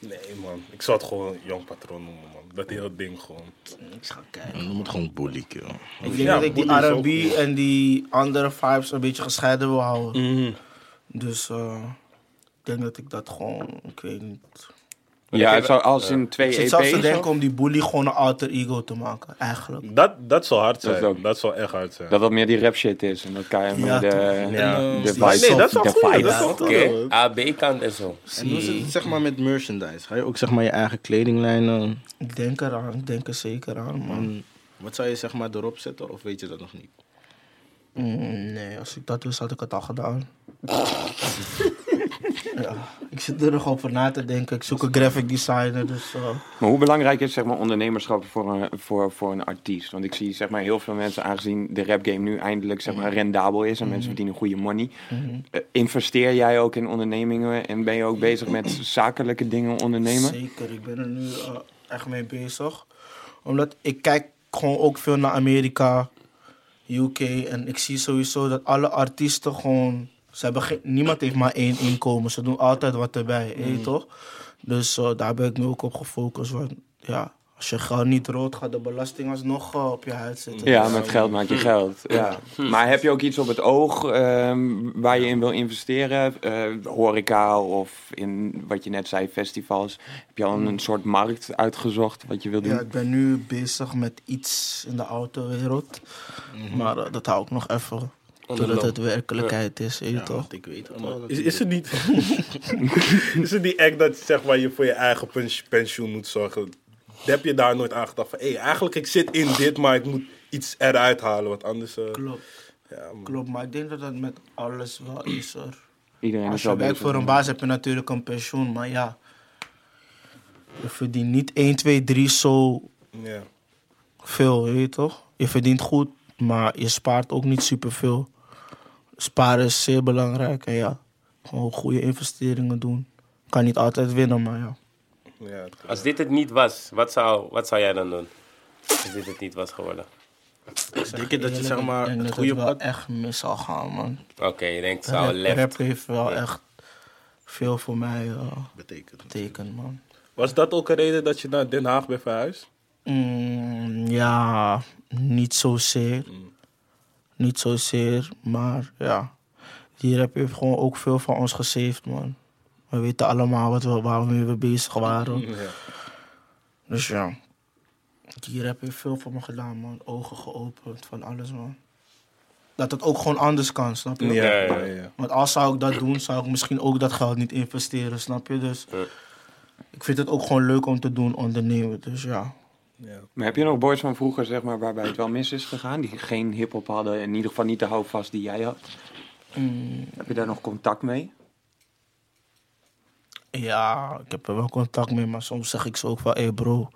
Speaker 2: Nee, man. Ik zou het gewoon Young Patroon noemen, man. Dat hele ding gewoon.
Speaker 3: Ik ga kijken.
Speaker 5: Noem het gewoon bully, joh.
Speaker 3: Ik denk
Speaker 2: Hmm. Ja,
Speaker 3: dat ik die
Speaker 2: Boeddha is ook
Speaker 3: R&B en die andere vibes een beetje gescheiden wil houden.
Speaker 2: Hmm.
Speaker 3: Dus eh, ik denk dat ik dat gewoon, ik weet niet.
Speaker 4: Ja, zo als in twee E
Speaker 3: Ik
Speaker 2: E
Speaker 4: EP's.
Speaker 3: zit zelfs te
Speaker 4: of-
Speaker 3: denken om die bully gewoon een alter ego te maken, eigenlijk.
Speaker 2: Dat, dat zal hard
Speaker 4: Dat
Speaker 2: zijn.
Speaker 4: ook.
Speaker 2: Dat, zal echt hard zijn.
Speaker 4: Dat dat meer die rap shit is. En dat kan je
Speaker 3: Ja,
Speaker 4: met de,
Speaker 2: Ja.
Speaker 4: de
Speaker 3: die
Speaker 4: vibes.
Speaker 3: Nee, dat is wel
Speaker 4: de
Speaker 2: goed,
Speaker 4: vibes.
Speaker 2: dat is wel
Speaker 1: Oké, AB-kant en zo.
Speaker 5: En hoe zit het zeg maar met merchandise? Ga je ook zeg maar je eigen kledinglijn... eh,
Speaker 3: Ik denk eraan, ik denk er zeker aan, man.
Speaker 5: en hm, wat zou je zeg maar erop zetten of weet je dat nog niet?
Speaker 3: Mm, nee, als ik dat wist, had ik het al gedaan. ja, ik zit er nog over na te denken. Ik zoek een graphic designer, dus... eh,
Speaker 4: Maar hoe belangrijk is zeg maar, ondernemerschap voor een, voor, voor een artiest? Want ik zie zeg maar, heel veel mensen, aangezien de rapgame nu eindelijk zeg
Speaker 3: Mhm.
Speaker 4: maar, rendabel is en mensen verdienen goede money. eh, investeer jij ook in ondernemingen en ben je ook bezig met zakelijke dingen ondernemen?
Speaker 3: Zeker, ik ben er nu eh, echt mee bezig. Omdat ik kijk gewoon ook veel naar Amerika, UK. En ik zie sowieso dat alle artiesten gewoon... Ze hebben geen- niemand heeft maar één inkomen. Ze doen altijd wat erbij, weet je toch? Dus eh, daar ben ik nu ook op gefocust. Want ja, als je geld niet rood, gaat de belasting alsnog eh, op je huid zitten.
Speaker 4: Ja,
Speaker 3: Dus,
Speaker 4: met geld maak je geld. Ja.
Speaker 3: Mhm.
Speaker 4: Maar heb je ook iets op het oog ehm, waar je in wil investeren? Eh, horeca of in wat je net zei, festivals. Heb je al een, soort markt uitgezocht wat je wil doen?
Speaker 3: Mhm. Ja, ik ben nu bezig met iets in de autowereld. Maar eh, dat hou ik nog even. Totdat het werkelijkheid is, weet je toch?
Speaker 5: Want ik weet het al.
Speaker 2: Oh, Is, is het niet... is het die act dat zeg maar, je voor je eigen pens- pensioen moet zorgen? Heb je daar nooit aan gedacht van... Hé, hey, eigenlijk ik zit in dit, maar ik moet iets eruit halen. Want anders... eh,
Speaker 3: Klopt.
Speaker 2: ja, man.
Speaker 3: Klopt, maar ik denk dat dat met alles wel is hoor.
Speaker 4: Iedereen
Speaker 3: Als
Speaker 4: is
Speaker 3: je
Speaker 4: wel
Speaker 3: werkt
Speaker 4: bezig.
Speaker 3: voor een baas heb je natuurlijk een pensioen, maar ja. Je verdient niet 1, 2, 3 zo
Speaker 2: Ja.
Speaker 3: veel, weet je toch? Je verdient goed, maar je spaart ook niet superveel. Sparen is zeer belangrijk en ja, gewoon goede investeringen doen. Kan niet altijd winnen, maar ja.
Speaker 2: ja
Speaker 1: Als dit het niet was, wat zou, wat zou jij dan doen? Als dit het niet was geworden.
Speaker 5: Denk je dat je zeg maar
Speaker 3: ik denk
Speaker 5: het
Speaker 3: dat
Speaker 5: goede
Speaker 3: wel
Speaker 5: pad...
Speaker 3: echt mis zal gaan, man.
Speaker 1: Oké, je denkt, zou
Speaker 3: Rap,
Speaker 1: left.
Speaker 3: rap heeft wel echt veel voor mij eh,
Speaker 5: Betekent.
Speaker 3: betekend, man.
Speaker 2: Was dat ook een reden dat je naar Den Haag bent verhuisd?
Speaker 3: Mm, ja, niet zozeer.
Speaker 5: Mm.
Speaker 3: Niet zozeer, maar ja. Die rap heeft gewoon ook veel van ons gesaved, man. We weten allemaal wat we, waarmee we bezig waren. Dus ja. Die rap heeft veel voor me gedaan, man. Ogen geopend, van alles, man. Dat het ook gewoon anders kan, snap je?
Speaker 2: Ja, ja, ja.
Speaker 3: Want als zou ik dat doen, zou ik misschien ook dat geld niet investeren, snap je? Dus ik vind het ook gewoon leuk om te doen, ondernemen. Dus ja,
Speaker 4: Maar heb je nog boys van vroeger, zeg maar, waarbij het wel mis is gegaan? Die geen hip-hop hadden, in ieder geval niet de houvast die jij had?
Speaker 3: Mm.
Speaker 4: Heb je daar nog contact mee?
Speaker 3: Ja, ik heb er wel contact mee, maar soms zeg ik ze ook wel, hé hey bro,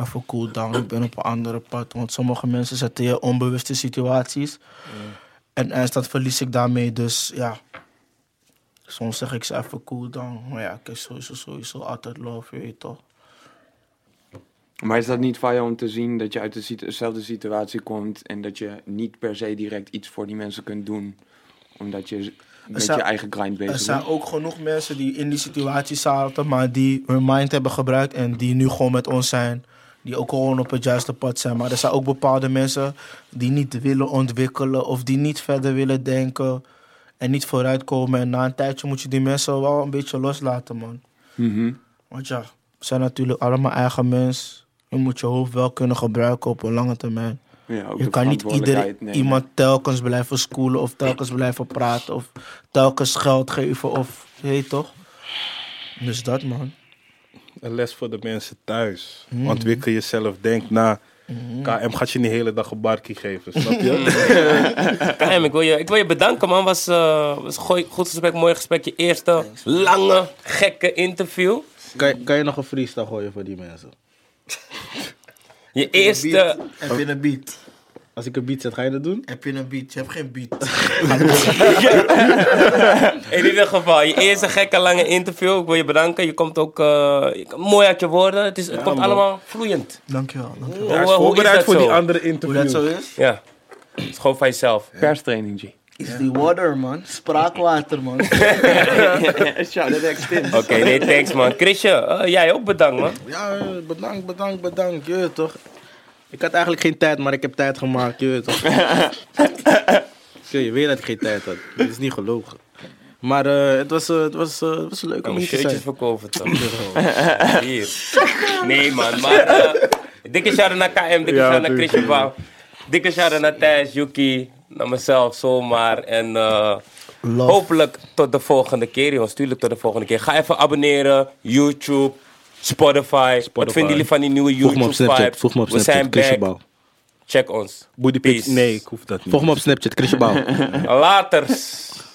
Speaker 3: even cool down, ik ben op een andere pad. Want sommige mensen zetten je onbewuste situaties. En eindstand verlies ik daarmee, dus ja. Soms zeg ik ze even cool down, maar ja, ik heb sowieso, sowieso altijd love, je weet toch.
Speaker 4: Maar is dat niet van je om te zien dat je uit de situ- dezelfde situatie komt en dat je niet per se direct iets voor die mensen kunt doen, omdat je met
Speaker 3: zijn-
Speaker 4: je eigen grind bezig
Speaker 3: Er
Speaker 4: bent?
Speaker 3: zijn ook genoeg mensen die in die situatie zaten, maar die hun mind hebben gebruikt en die nu gewoon met ons zijn. Die ook gewoon op het juiste pad zijn. Maar er zijn ook bepaalde mensen die niet willen ontwikkelen of die niet verder willen denken en niet vooruitkomen. En na een tijdje moet je die mensen wel een beetje loslaten, man.
Speaker 4: Mhm.
Speaker 3: Want ja, we zijn natuurlijk allemaal eigen mens. Je moet je hoofd wel kunnen gebruiken op een lange termijn.
Speaker 4: Ja, ook
Speaker 3: Je
Speaker 4: de
Speaker 3: kan niet iedereen,
Speaker 4: verantwoordelijkheid nemen.
Speaker 3: iemand telkens blijven schoolen of telkens blijven praten of telkens geld geven of je weet toch? Dus dat man.
Speaker 2: Een les voor de mensen thuis. Ontwikkel jezelf. Denk na. KM gaat je niet de hele dag een barkie geven. Snap je?
Speaker 1: Kaim, ik wil je, ik wil je bedanken, man. Was, eh, was een gooi- goed gesprek, mooi gesprek. Je eerste lange, gekke interview.
Speaker 5: Kan, je- kan je nog een freestyle gooien voor die mensen?
Speaker 1: Je eerste.
Speaker 3: Heb je een beat?
Speaker 5: Als ik een beat zet, ga je dat doen?
Speaker 3: Heb je een beat? Je hebt geen beat.
Speaker 1: In ieder geval, je eerste gekke, lange interview. Ik wil je bedanken. Je komt ook eh, je komt mooi uit je woorden. Het, is, het komt allemaal vloeiend.
Speaker 3: Dankjewel. dankjewel.
Speaker 2: Hij
Speaker 1: Hoe-
Speaker 2: Oh, is
Speaker 1: hoe is
Speaker 2: voorbereid
Speaker 1: dat
Speaker 2: voor die
Speaker 1: zo?
Speaker 2: andere
Speaker 3: Hoe dat zo
Speaker 2: interview.
Speaker 3: is?
Speaker 1: Ja, het is gewoon van jezelf.
Speaker 4: Perstraining, G.
Speaker 3: Is die water, man. Spraakwater, man.
Speaker 4: Shout out Extins.
Speaker 1: Oké, nee, thanks man. Chrisje, eh, jij ook bedankt man.
Speaker 5: Ja, eh, bedankt, bedankt, bedankt. Je weet toch? Ik had eigenlijk geen tijd, maar ik heb tijd gemaakt. Je weet toch? Oké, je weet dat ik geen tijd had. Dat is niet gelogen. Maar eh, het, was, eh, het, was, eh, het was leuk om
Speaker 1: Kom,
Speaker 5: hier te zijn.
Speaker 1: shirtjes verkopen toch? Hier. Nee man, maar... eh, dikke shout-out naar KM, dikke
Speaker 2: Ja,
Speaker 1: shout-out naar
Speaker 2: tuurlijk.
Speaker 1: Chrisje Bouw. Dikke shout-out naar Thijs, Yuki, naar mezelf, zomaar. En eh,
Speaker 3: Love.
Speaker 1: hopelijk tot de volgende keer jongens, tuurlijk tot de volgende keer. Ga even abonneren, YouTube, Spotify. Wat vinden jullie van die nieuwe
Speaker 5: Volg me op
Speaker 1: YouTube-vibe?
Speaker 5: Snapchat. Volg me op
Speaker 1: We zijn
Speaker 5: Snapchat. Chrisje
Speaker 1: back,
Speaker 5: Bouw.
Speaker 1: check ons.
Speaker 2: Booty pics?
Speaker 1: Peace.
Speaker 2: Nee, ik hoef dat niet.
Speaker 5: Volg me op Snapchat. Chrisje Bouw.
Speaker 1: Laters.